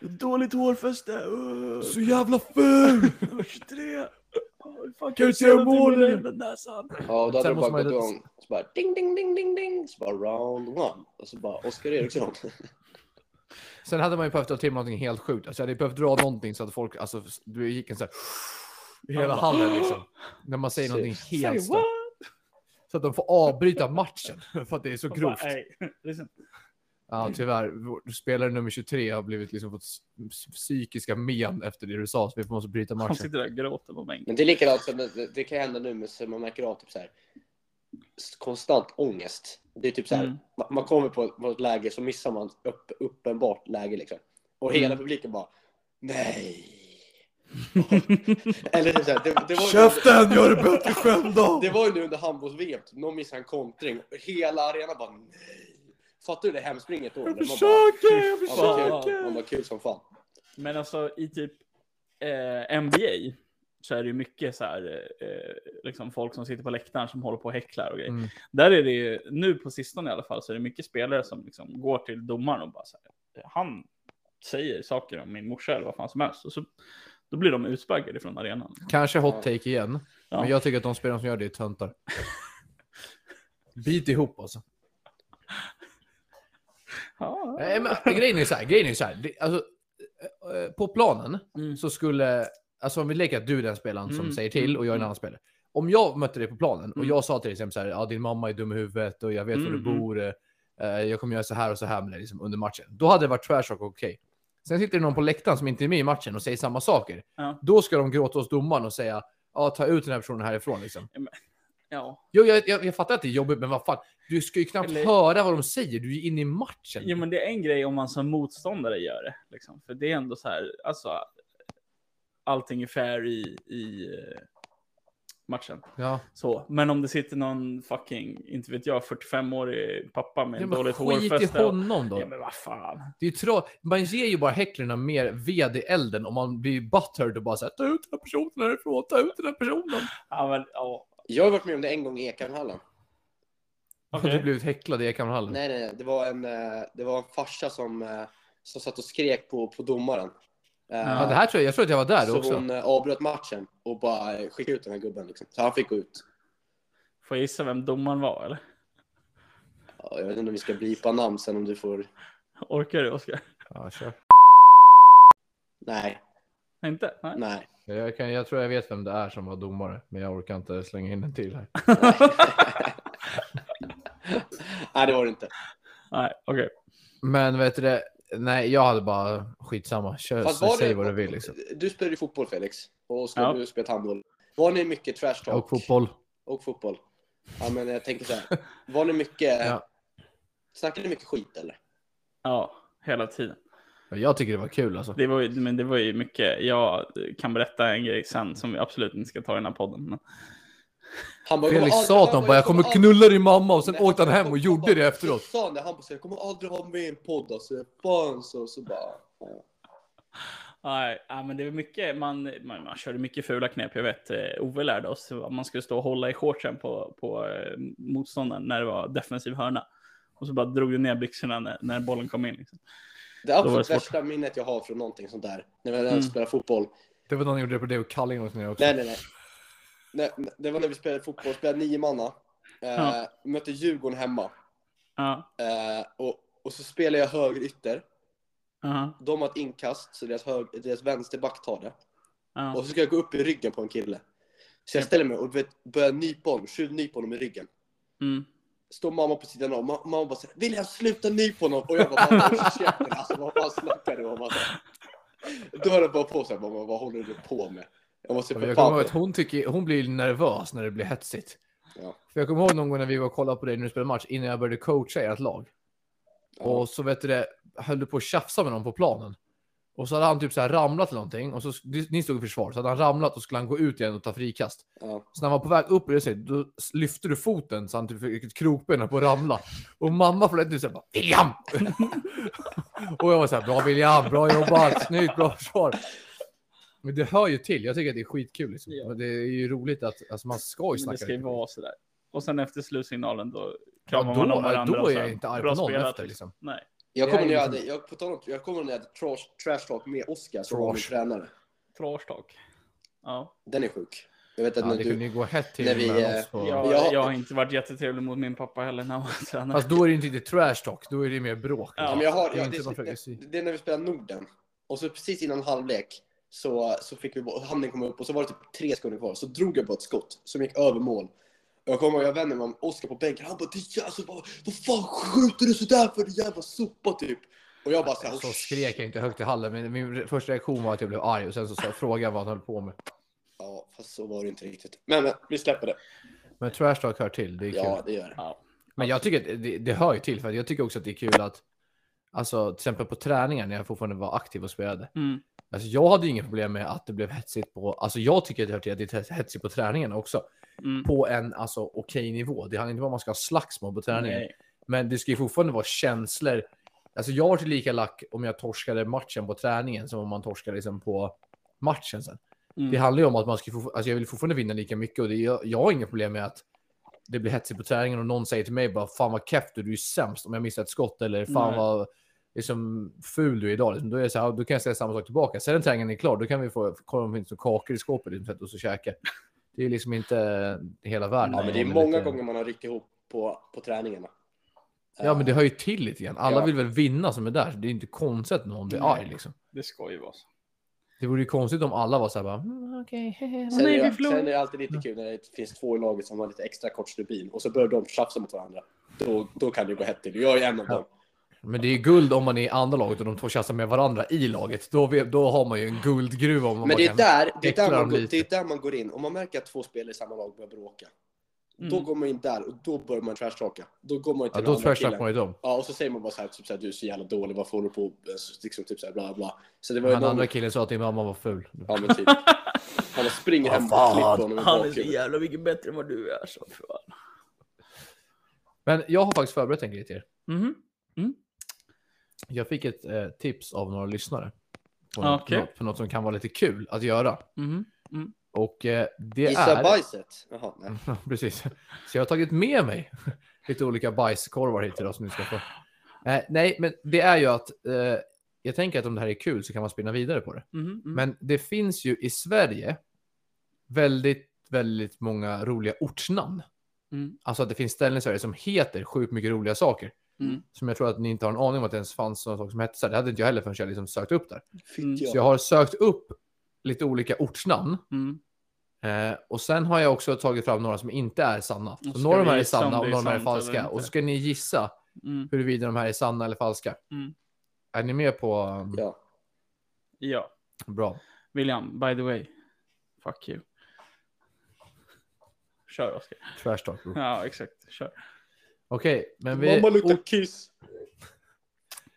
S1: Dåligt hårfäste! Uh,
S2: Så jävla ful!
S1: nummer 23! Oh, hur fan kan
S2: Kan du
S1: du
S2: se hur
S1: säga
S2: målen
S1: målen
S2: är?
S1: i den näsan?
S3: Ja, och då hade
S2: Sen
S3: de bara
S2: måste man
S3: gått
S2: ju-
S3: igång. Så bara ding, ding, ding, ding, ding. Så bara round one. Och så bara Oskar Eriksson.
S2: Sen hade man ju behövt dra till med någonting helt sjukt. Alltså jag hade ju behövt dra någonting så att folk, alltså du gick en så här i hela hallen liksom. När man säger någonting helt
S1: Say what?
S2: stört. Så att de får avbryta matchen för att det är så
S1: Jag bara,
S2: grovt.
S1: "Ey, listen."
S2: Ja, tyvärr. Vår spelare nummer 23 har blivit liksom fått s- s- psykiska men efter det du sa, så vi måste bryta
S1: Han
S2: matchen.
S1: sitter där och gråter på bänken.
S3: Men det är likadant som det, det kan hända nu, men så man märker av typ så här konstant ångest. Det är typ så här,
S1: Mm.
S3: man, man kommer på ett, på ett läge så missar man upp, uppenbart läge liksom. Och
S1: Mm.
S3: hela publiken bara nej. Eller typ så här, det, det var ju-
S2: Gör det bättre själv då!
S3: Det var ju nu under handbolls-VM, typ, någon missade en kontring och hela arenan bara nej. Fattar du det hemspringet då? eller? Man bara,
S2: försöker! Jag
S3: ja,
S1: försöker!
S3: kul. Man bara kul som fan.
S1: Men alltså i typ eh, NBA så är det ju mycket så här, eh, liksom folk som sitter på läktaren som håller på och häcklar och grejer.
S2: Mm.
S1: Där är det ju, nu på sistone i alla fall, så är det mycket spelare som liksom går till domaren och bara så här, han säger saker om min morsa eller vad fan som helst. Och så, då blir de utbaggade från arenan.
S2: Kanske hot take igen,
S1: Ja.
S2: men jag tycker att de spelare som gör det är töntar. Bit ihop alltså.
S1: Ja,
S2: Nej, men, grejen är så här, grejen är så här. Det, alltså, eh, eh, på planen
S1: Mm.
S2: så skulle, alltså om vi leker att du är den spelaren som
S1: Mm,
S2: säger till
S1: mm,
S2: och jag är en
S1: mm.
S2: annan spelare. Om jag mötte dig på planen och
S1: Mm.
S2: jag sa till exempel så här, ja din mamma är dum i huvudet och jag vet var du
S1: Mm,
S2: bor, eh, eh, jag kommer göra så här och så här med dig liksom, under matchen. Då hade det varit trash och okej. Sen sitter det någon på läktaren som inte är med i matchen och säger samma saker.
S1: Ja.
S2: Då ska de gråta hos domaren och säga, ja ta ut den här personen härifrån liksom.
S1: ja.
S2: Jo, jag, jag, jag fattar att det är jobbigt, men vad fan. Du ska ju knappt
S1: Eller-
S2: höra vad de säger, du är ju inne i matchen.
S1: Jo, men det är en grej om man som motståndare gör det. Liksom. För det är ändå så här, alltså, allting är fair i, i eh, matchen.
S2: Ja.
S1: Så. Men om det sitter någon fucking, inte vet jag, 45-årig pappa med
S2: Ja,
S1: en
S2: men
S1: dåligt
S2: skit i
S1: hårfäste. och-
S2: honom då.
S1: Ja, men vad fan.
S2: Det är ju tra- man ger ju bara häcklarna mer ved i elden om man blir butthurt och bara säger ta ut den här personen härifrån, ta ut den här personen.
S1: Ja, men, ja.
S3: Jag har varit med om det en gång i Ekhamnhallen.
S2: Har
S1: Okej.
S2: du blivit häcklad i Ekhamnhallen?
S3: Nej, nej, det var en, eh, det var en farsa som, eh, som satt och skrek på, på domaren. Eh,
S2: Ja, det här tror jag, jag tror att jag var där då
S3: så
S2: också.
S3: hon eh, avbröt matchen och bara eh, skickade ut den här gubben. Liksom. Så han fick gå ut.
S1: Får jag gissa vem domaren var eller?
S3: Ja, jag vet inte om vi ska blipa namn sen om du får...
S1: Orkar du Oskar?
S2: Ja, kör.
S3: Nej,
S1: Inte? Nej.
S3: nej.
S2: Jag, kan, jag tror jag vet vem det är som var domare, men jag orkar inte slänga in en till här.
S3: nej, det var det inte.
S1: Nej, okej.
S2: Men vet du det? Nej, jag hade bara skitsamma. Kör,
S3: Fast var
S2: säg
S3: det-
S2: vad du vill liksom.
S3: Du spelade ju fotboll Felix. Och så
S1: Ja.
S3: du spelat handboll. Var ni mycket trash talk?
S2: Och fotboll.
S3: Och fotboll. Ja, men jag tänker så här. Var ni mycket...
S2: Ja.
S3: Snackade ni mycket skit eller?
S1: Ja, hela tiden.
S2: Jag tycker det var kul alltså.
S1: Det var ju, men det var ju mycket. Jag kan berätta en grej sen som vi absolut inte ska ta i den här podden. Men...
S3: Han bara,
S2: Felix
S3: "Jag
S2: sa
S3: aldrig-
S2: att han
S3: jag
S2: bara, jag kommer
S3: aldrig-
S2: knulla din mamma och sen
S3: Nej,
S2: åkte han hem
S3: kom-
S2: och
S3: kom
S2: gjorde
S3: bara,
S2: det efteråt.
S3: Så sa han det, han bara, så här, jag kommer aldrig ha med en podd alltså. Fan så, så bara. ja.
S1: Nej, ja, men det var mycket, man, man, man körde mycket fula knep. Jag vet, eh, Ove lärde oss att man skulle stå och hålla i shortsen på, på eh, motståndaren när det var defensiv hörna. Och så bara drog du ner byxorna när, när bollen kom in. Liksom.
S3: Det
S1: Då var det
S3: absolut
S1: svårt.
S3: värsta minnet jag har från någonting sånt där, när vi
S1: Mm.
S3: mm. spelade fotboll,
S2: Det var någon som gjorde det på David Culling hos mig också.
S3: Nej, nej, nej. nej. nej, Det var när vi spelade fotboll, spelade nio manna. Eh,
S1: Ja.
S3: Mötte Djurgården hemma.
S1: Ja,
S3: Eh, och, och så spelar jag höger ytter.
S1: aha,
S3: De har ett inkast, så deras, hög, deras vänsterback tar det.
S1: ja.
S3: Och så ska jag gå upp i ryggen på en kille. Så jag
S1: Ja.
S3: ställer mig och du vet, börjar nypa honom, tjuvnypa honom i ryggen.
S1: Mm.
S3: Står mamma på sidan om, Ma- mamma bara säger William sluta nypa honom! Och jag bara, "Mamma, håll käften, alltså vad fan snackar du om? Alltså. Då höll jag bara på såhär, mamma vad håller du på med? Jag måste
S2: Jag
S3: för
S2: kommer ihåg
S3: fan...
S2: att hon, tycker, hon blir nervös när det blir hetsigt.
S3: Ja.
S2: För jag kommer ihåg någon gång när vi var och kollade på dig när du spelade match innan jag började coacha ert lag.
S3: Ja.
S2: Och så vet du det, höll du på att tjafsa med någon på planen. Och så hade han typ så här ramlat eller någonting och så ni stod i försvar så hade han ramlat och skulle han gå ut igen och ta frikast.
S3: Ja.
S2: Så när han var på väg upp i det sig, då lyfte du foten så han typ fick ett krokben på att ramla. Och mamma frågade typ så här bara William! och jag var så här bra William, bra jobbat, snyggt, bra försvar. Men det hör ju till. Jag tycker att det är skitkul. Liksom.
S1: Ja.
S2: Och Det är ju roligt att alltså, man ska ju
S1: Men
S2: snacka.
S1: det ska ju
S2: lite.
S1: vara sådär. Och sen efter slutsignalen då
S2: Ja,
S1: kramar man om varandra.
S2: Då
S1: och
S2: är
S1: så
S2: jag
S1: här,
S2: inte arg
S1: bra
S2: på någon
S1: spelat,
S2: efter. Liksom.
S1: Nej.
S3: Jag
S2: Det
S3: kommer
S2: är liksom-
S3: när jag
S2: ju
S3: hade, jag, på tal om, jag kommer när jag hade trash, trash talk med Oscar som var min
S2: Trash.
S3: tränare.
S1: Trash talk. Ja.
S3: Den är sjuk. Jag vet att
S2: Ja,
S3: när
S2: det
S3: du...
S2: kunde ju gå hett till
S3: när vi,
S2: mellan
S3: eh,
S2: oss. På...
S1: Jag,
S3: Jag-
S1: jag har inte varit jättetrevlig mot min pappa heller när han var tränare.
S2: Fast då är det inte riktigt trash talk. Då är det mer bråk.
S1: Ja,
S3: Ja,
S2: liksom.
S3: men jag har,
S2: Det är
S3: jag,
S2: inte
S3: det,
S2: någon
S3: det,
S2: progressiv-
S3: det är när vi spelar Norden. Och så precis innan halvlek så, så fick vi bo- handen komma upp och så var det typ tre sekunder kvar. Så drog jag på ett skott som gick över mål. Och Jag kommer ihåg, jag vände mig om Oskar på bänken. Han bara, "Det är alltså, vad, vad fan skjuter du sådär för din jävla sopa typ? Och jag bara såhär,
S2: Så Alltså, skrek jag inte högt i hallen, men min första reaktion var att jag blev arg och sen så sa- frågade jag vad han höll på med.
S3: Ja, fast så var det inte riktigt. Men, men vi släpper det.
S2: Men trash talk hör till, det är kul.
S3: Ja, det gör det.
S2: Men jag tycker att det, det hör ju till, för att jag tycker också att det är kul att, alltså till exempel på träningar när jag fortfarande var aktiv och spelade,
S1: Mm.
S2: alltså jag hade ju inga problem med att det blev hetsigt på, alltså jag tycker att det hör till att det är hetsigt på träningarna också,
S1: Mm.
S2: på en alltså okej nivå. Det handlar inte om att man ska ha slagsmål på träningen,
S1: Nej.
S2: men det ska ju fortfarande vara känslor. Alltså jag var till lika lack om jag torskade matchen på träningen som om man torskade liksom på matchen sen.
S1: Mm.
S2: Det handlar ju om att man ska få, alltså jag vill fortfarande vinna lika mycket och det, jag, jag har inga problem med att det blir hetsigt på träningen och någon säger till mig bara fan vad keff du, är, du är sämst om jag missar ett skott eller fan
S1: Nej.
S2: vad liksom, ful du är idag. Liksom, då, är det så här, då kan jag säga samma sak tillbaka. Sen när träningen är klar då kan vi få kolla om det finns några kakor i skåpet liksom, och så käka. Det är liksom inte hela världen.
S3: Ja, men det är
S2: Om
S3: många
S2: lite-
S3: gånger man har ryckt ihop på, på träningarna.
S2: Ja men det hör ju till lite grann. Alla
S3: Ja.
S2: vill väl vinna som är där. så Det är inte konstigt att någon blir
S1: Nej.
S2: arg liksom.
S1: Det ska ju vara så.
S2: Det vore ju konstigt om alla var så här bara mm, okej. hehe."
S3: Sen
S1: Nej,
S3: är,
S1: vi
S3: det,
S1: förlorar.
S3: sen är det alltid lite kul när det finns två i laget som har lite extra kort stubin och så börjar de tjafsa mot varandra. Då, då kan det gå hett till. Jag är en av dem.
S2: Men det är guld om man är i andra laget och de två tjafsar med varandra i laget. Då, vet- då har man ju en guldgruva. Om man
S3: Men det är,
S2: kan-
S3: där, det, är
S2: veckla
S3: där man
S2: dem
S3: går,
S2: lite.
S3: det är där man går in. Om man märker att två spelare i samma lag börjar bråka, då
S1: Mm.
S3: går man in där och då börjar man trashtalka. Då går man till
S2: ja,
S3: den
S2: då
S3: andra
S2: trashar
S3: killen.
S2: man ju dem.
S3: Ja, och så säger man bara så här, typ så här, du är så jävla dålig, varför håller du på? Liksom, typ så här, bla bla. Så det var ju
S2: Den
S3: någon...
S2: andra killen sa att din mamma var ful.
S3: Ja, men typ. Han bara springer hem och
S2: Vad fan?
S3: klipper honom i
S1: Han är så
S3: bakhuvudet.
S1: jävla mycket bättre än vad du är. Så för fan.
S2: Men jag har faktiskt förberett en grej till er.
S3: Mm-hmm.
S1: Mhm.
S2: Jag fick ett eh, tips av några lyssnare. På, något-
S1: Okej.
S2: något, på något som kan vara lite kul att göra.
S1: Mhm.
S2: Och eh, det
S3: Gissa
S2: är...
S3: bajset? Jaha, nej.
S2: Ja, Precis. Så jag har tagit med mig lite olika bajskorvar hit idag som ni ska få. Eh, nej, men det är ju att eh, jag tänker att om det här är kul så kan man spinna vidare på det.
S1: Mhm. Mhm.
S2: Men det finns ju i Sverige väldigt, väldigt många roliga ortsnamn.
S1: Mm.
S2: Alltså att det finns ställen i Sverige som heter sjukt mycket roliga saker.
S1: Mm.
S2: Som jag tror att ni inte har en aning om att det ens fanns sådana saker som hette så. här. Det hade inte jag heller förrän jag liksom sökt upp där.
S1: Mm.
S3: Fitt
S2: Så jag har sökt upp lite olika ortsnamn.
S1: Mm.
S2: Eh, och sen har jag också tagit fram några som inte är sanna. Så
S1: ska
S2: några av de här
S1: vi
S2: är
S1: gissa om
S2: sanna och
S1: det är
S2: några av de här är
S1: sant eller
S2: falska.
S1: inte.
S2: Och så ska ni gissa
S1: Mm.
S2: huruvida de här är sanna eller falska.
S1: Mm.
S2: Är ni med på... um,
S3: Ja.
S1: Ja,
S2: Bra.
S1: William, by the way. Fuck you. Kör Oskar.
S2: Trash talk. bro.
S1: Ja, exakt. Kör.
S2: Okej, men vi...
S3: kiss.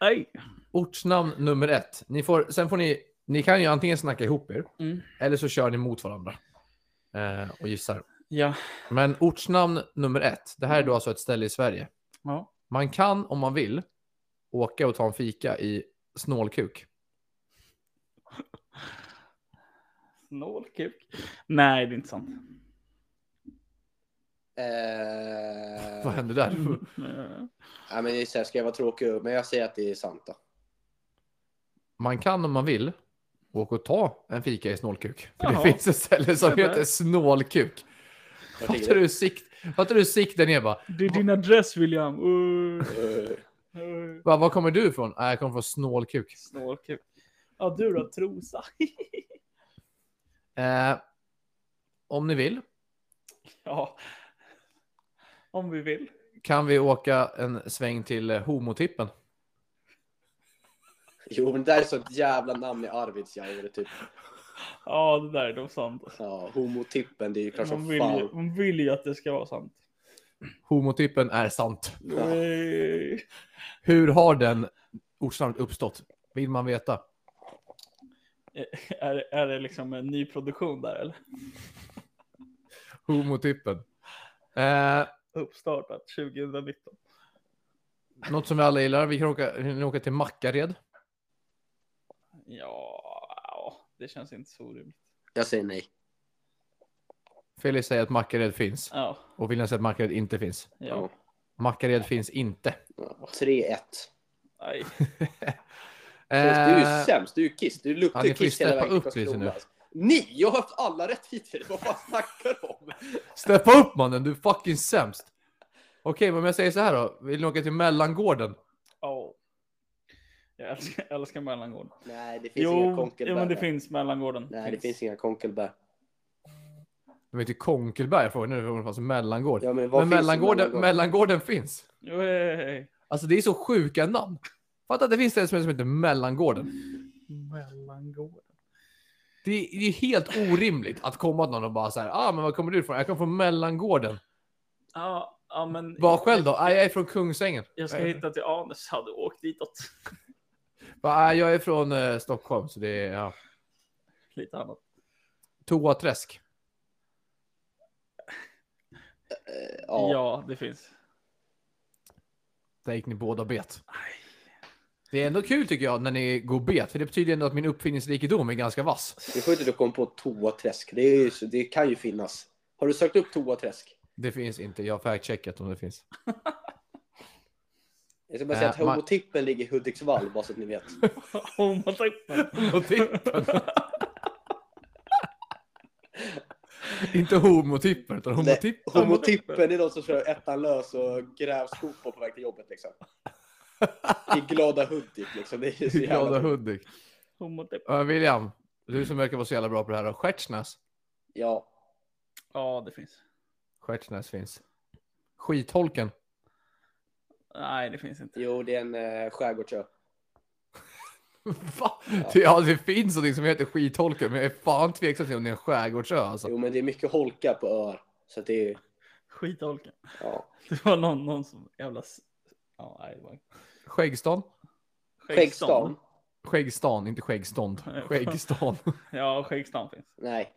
S1: Nej.
S2: Ortsnamn nummer ett. Ni får, sen får ni, ni kan ju antingen snacka ihop er,
S1: Mm.
S2: eller så kör ni mot varandra eh, och gissar.
S1: Ja.
S2: Men ortsnamn nummer ett, det här
S1: Mm.
S2: är då alltså ett ställe i Sverige.
S1: ja.
S2: Man kan, om man vill, åka och ta en fika i Snålkuk.
S1: Snål kuk. Nej, det är inte sant.
S3: Eh,
S2: Vad hände där?
S1: Eh,
S3: nej, men det är så här, ska jag vara tråkig? Men jag säger att det är sant då.
S2: Man kan om man vill åka och ta en fika i snålkuk. För
S1: Jaha.
S2: det finns ett ställe som
S1: Det där.
S2: heter snålkuk.
S3: Vart ligger
S2: Fattar du sikt? Fattar du sikt där nere bara?
S1: Det är din adress, William. Uh,
S3: det? Eh,
S1: uh.
S2: Va, var kommer du ifrån? Äh, jag kommer från snålkuk.
S1: Snålkuk. Ja, du då, trosa.
S2: Eh, om ni vill
S1: ja. Om vi vill.
S2: kan vi åka en sväng till eh, homotippen.
S3: Jo, men det där är så ett jävla namn i Arvidsjaur. Typ.
S1: Ja, det där är nog sant.
S3: Ja, homotippen, det är ju klart
S1: Man
S3: som
S1: vill, ju,
S3: fan.
S1: man vill ju att det ska vara sant.
S2: Homotippen är sant.
S3: Ja.
S1: Nej.
S2: Hur har den ortsnamnet uppstått? Vill man veta?
S1: Är, är det liksom en ny produktion där eller?
S2: Homotippen. Eh,
S1: Uppstartat 2019.
S2: något som vi alla gillar. Vi kan åka, vi kan åka till Mackared.
S1: Ja, det känns inte så orimligt.
S3: Jag säger nej.
S2: Felix säger att Mackared finns.
S1: Ja,
S2: Och William säger att Mackared inte finns.
S1: ja.
S2: Mackared finns inte.
S3: Ja, 3-1.
S1: Nej.
S3: Du är
S2: Eh,
S3: ju sämst, du är ju kiss. Du luktar
S2: ja, ni
S3: ju
S2: får ju
S3: kiss hela
S2: steppa
S3: vägen
S2: upp
S3: till
S2: lite nu.
S3: Karlskrona. alltså. Ni! Jag har haft alla rätt hittills. Vad fan snackar du om?
S2: steppa upp mannen, du är fucking sämst. Okej, men om jag säger så här då. Vill ni åka till Mellangården?
S1: Ja. Jag älskar, jag älskar mellangården.
S3: Nej, det finns inga
S1: Jo,
S3: konkelbär.
S1: jo, men det
S3: där.
S1: finns mellangården.
S3: Nej, det finns inga konkelbär.
S2: De heter Konkelberg, jag frågade nu om det fanns en mellangård.
S3: Ja, men vad
S2: men
S3: finns i
S2: mellangården, mellangården finns.
S1: Jo, hej, hej, hej.
S2: Alltså det är så sjuka namn. Fatta att det finns ett som heter Mellangården.
S1: Mellangården.
S2: Det är, det är ju helt orimligt att komma till någon och bara så här, ah men var kommer du ifrån? Jag kommer från mellangården.
S1: Ja, ja, men.
S2: Vad själv då? Ah, jag är från Kungsängen.
S1: Jag ska hitta till Anus. Hade åkt ditåt.
S2: Bara, ah, jag är från eh, Stockholm, så det är ja.
S1: Lite annat.
S2: Toaträsk.
S3: Eh,
S1: Ja,
S3: Ja.
S1: det finns.
S2: Där gick ni båda bet. Det är ändå kul tycker jag när ni går bet, för det betyder ändå att min uppfinningsrikedom är ganska vass.
S3: Det är sjukt att du kom på toaträsk. Det, är ju, så- det kan ju finnas. Har du sökt upp toaträsk?
S2: Det finns inte, jag har fact-checkat om det finns.
S3: Jag ska bara
S2: Äh,
S3: säga att
S2: man-
S3: homotippen ligger i Hudiksvall, bara så att ni vet.
S1: Homotippen.
S2: Och tippen. inte homotippen, utan homotippen.
S3: Homotippen är de som kör ettan lös och grävskopor på väg till jobbet liksom. I glada Hudik liksom. Det är ju så
S2: Glada
S3: jävla...
S2: Hudik.
S1: Homotippen.
S2: Ja, William, du som verkar vara så jävla bra på det här då. Stjärtsnäs.
S3: Ja.
S1: Ja, det finns.
S2: Stjärtsnäs finns. Skitholken.
S1: Nej, det finns inte.
S3: Jo, det är en eh, skärgårdsö.
S2: Va? Det, ja, det finns någonting som heter skitholken, men jag är fan tveksam till om det är en skärgårdsö alltså.
S3: Jo, men det är mycket holka på öar. Så att det är...
S1: Skitholken.
S3: Ja.
S1: Det var någon, någon som jävla... s- Ja, nej, det var
S2: Skäggstan?
S3: Skäggstan?
S2: Skäggstan, inte skäggstånd. Skäggstan.
S1: Ja, Skäggstan finns.
S3: Nej.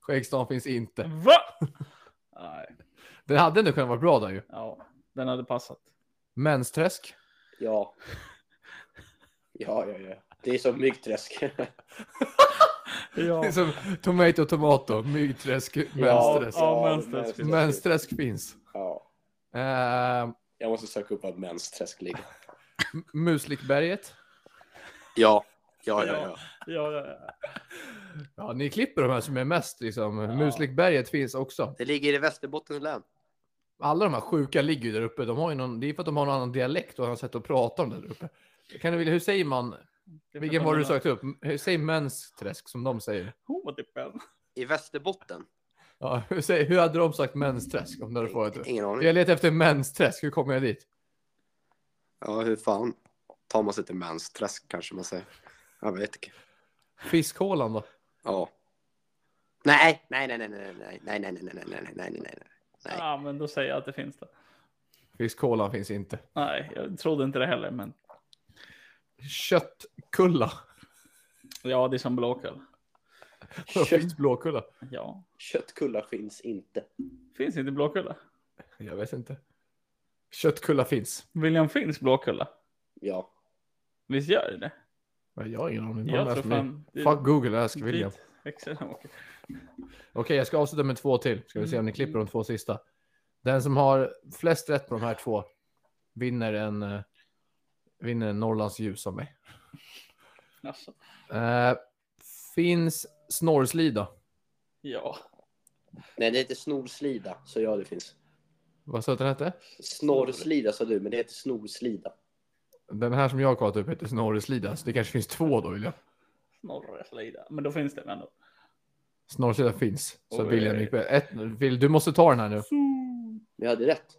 S2: Skäggstan finns inte.
S1: Va? Nej,
S2: Den hade ändå kunnat vara bra där ju.
S1: ja, den hade passat.
S2: Mensträsk.
S3: Ja. Ja, ja, ja. Det är som myggträsk.
S2: Det är
S1: Ja,
S2: som tomato, tomato, myggträsk, mensträsk.
S1: ja, mensträsk.
S2: Mensträsk finns.
S3: Ja.
S2: Eh,
S3: Jag måste söka upp var mensträsk ligger.
S2: M- Muslikberget.
S3: Ja.
S1: ja, ja. ja, ja.
S2: Ja, ni klipper de här som är mest liksom.
S1: Ja.
S2: Muslikberget finns också.
S3: Det ligger i Västerbottens län.
S2: Alla de här sjuka ligger ju där uppe. De har ju någon, det är för att de har någon annan dialekt och har sätt att prata om det där uppe. Kan du vilja, hur säger man?
S1: Det
S2: Vilken var det du sökte upp? Hur säger mensträsk som de säger?
S1: Homotippen.
S3: I Västerbotten?
S2: Ja, hur, säger, hur hade de sagt mensträsk om du hade frågat det?
S3: Ingen aning.
S2: Jag letar efter mensträsk, hur kommer jag dit?
S3: Ja, hur fan tar man sig till mensträsk kanske man säger. Jag vet inte.
S2: Fiskhålan då?
S3: Ja. Nej, nej, nej, nej, nej, nej, nej, nej, nej, nej, nej, nej, nej, nej, nej. Nej.
S1: Ja, men då säger jag att det finns det.
S2: Fiskhålan finns inte.
S1: Nej, jag trodde inte det heller, men
S2: Köttkulla.
S1: ja, det är som blåkull.
S2: Då
S3: Kött-
S2: finns blåkulla.
S1: Ja,
S3: Köttkullar finns inte.
S1: finns inte blåkulla?
S2: Jag vet inte. Köttkulla finns.
S1: William finns blåkulla.
S3: Ja.
S1: Visst gör det det?
S2: Men Jag har ingen aning. Bara
S1: Jag
S2: läs
S1: tror
S2: mig.
S1: fan... det-
S2: Fuck Google, ask
S1: dit
S2: William.
S1: växer den åker.
S2: Okej, jag ska avsluta med två till. Ska vi se om ni klipper de två sista. Den som har flest rätt på de här två vinner en, eh, vinner en Norrlands ljus av mig.
S1: Alltså,
S2: Eh, finns Snorrslida?
S1: ja.
S3: Nej, det heter snorslida, så ja, det finns.
S2: Vad sa du att den hette?
S3: Snorrslida sa du, men det heter snorslida.
S2: Den här som jag har kollat upp heter Snorreslida, så det kanske finns två då William.
S1: Snorre Slida. Men då finns den ändå.
S2: Snorreslida finns. Så
S1: Oj.
S2: William gick med. Ett, Will, du måste ta den här nu.
S3: Men jag hade rätt.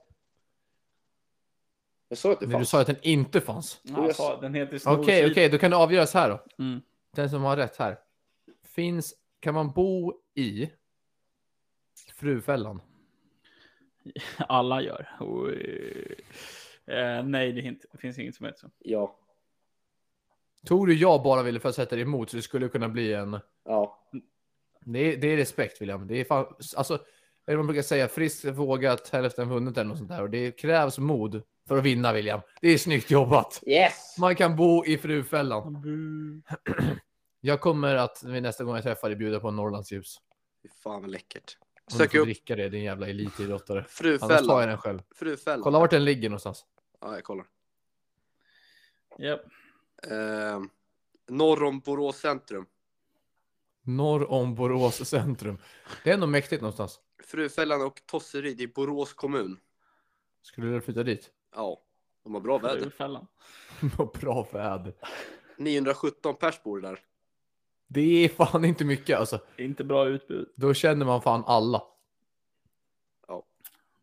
S3: Jag sa att det
S2: Men du
S3: fanns.
S2: sa att den inte fanns.
S1: Ja, jag sa, den heter
S2: Okej,
S1: Snorre
S2: okej, då kan det avgöras här då.
S1: Mm.
S2: Den som har rätt här. Finns, kan man bo i Frufällan?
S1: Alla gör. Oj. Eh, nej, det är inte- det finns inget som heter så.
S3: Ja.
S2: Tror du jag bara ville för att sätta dig emot så det skulle kunna bli en...
S3: Ja.
S2: Det är, det är respekt William. Det är fan... Alltså, det är vad man brukar säga, friskt vågat, hälften vunnet eller något sånt där. Och det krävs mod för att vinna William. Det är snyggt jobbat.
S3: Yes!
S2: Man kan bo i Frufällan.
S1: Bu.
S2: Jag kommer att vid nästa gång jag träffar dig bjuda på en Norrlandsljus.
S3: Fy fan vad läckert.
S2: Om du
S3: Sök
S2: får
S3: upp
S2: dricka det, din jävla elitidrottare. Annars tar jag
S3: frufällan.
S2: den själv.
S3: Frufällan.
S2: Kolla vart den ligger någonstans.
S3: Ja, jag kollar.
S1: Japp.
S3: Eh, norr om Borås centrum.
S2: Norr om Borås centrum. Det är ändå mäktigt någonstans.
S3: Frufällan och Tosseryd i Borås kommun.
S2: Skulle du flytta dit?
S3: Ja. De har bra väder.
S1: Frufällan.
S2: Vad Bra väder.
S3: 917 pers bor det där.
S2: Det är fan inte mycket alltså.
S1: Inte bra utbud.
S2: Då känner man fan alla.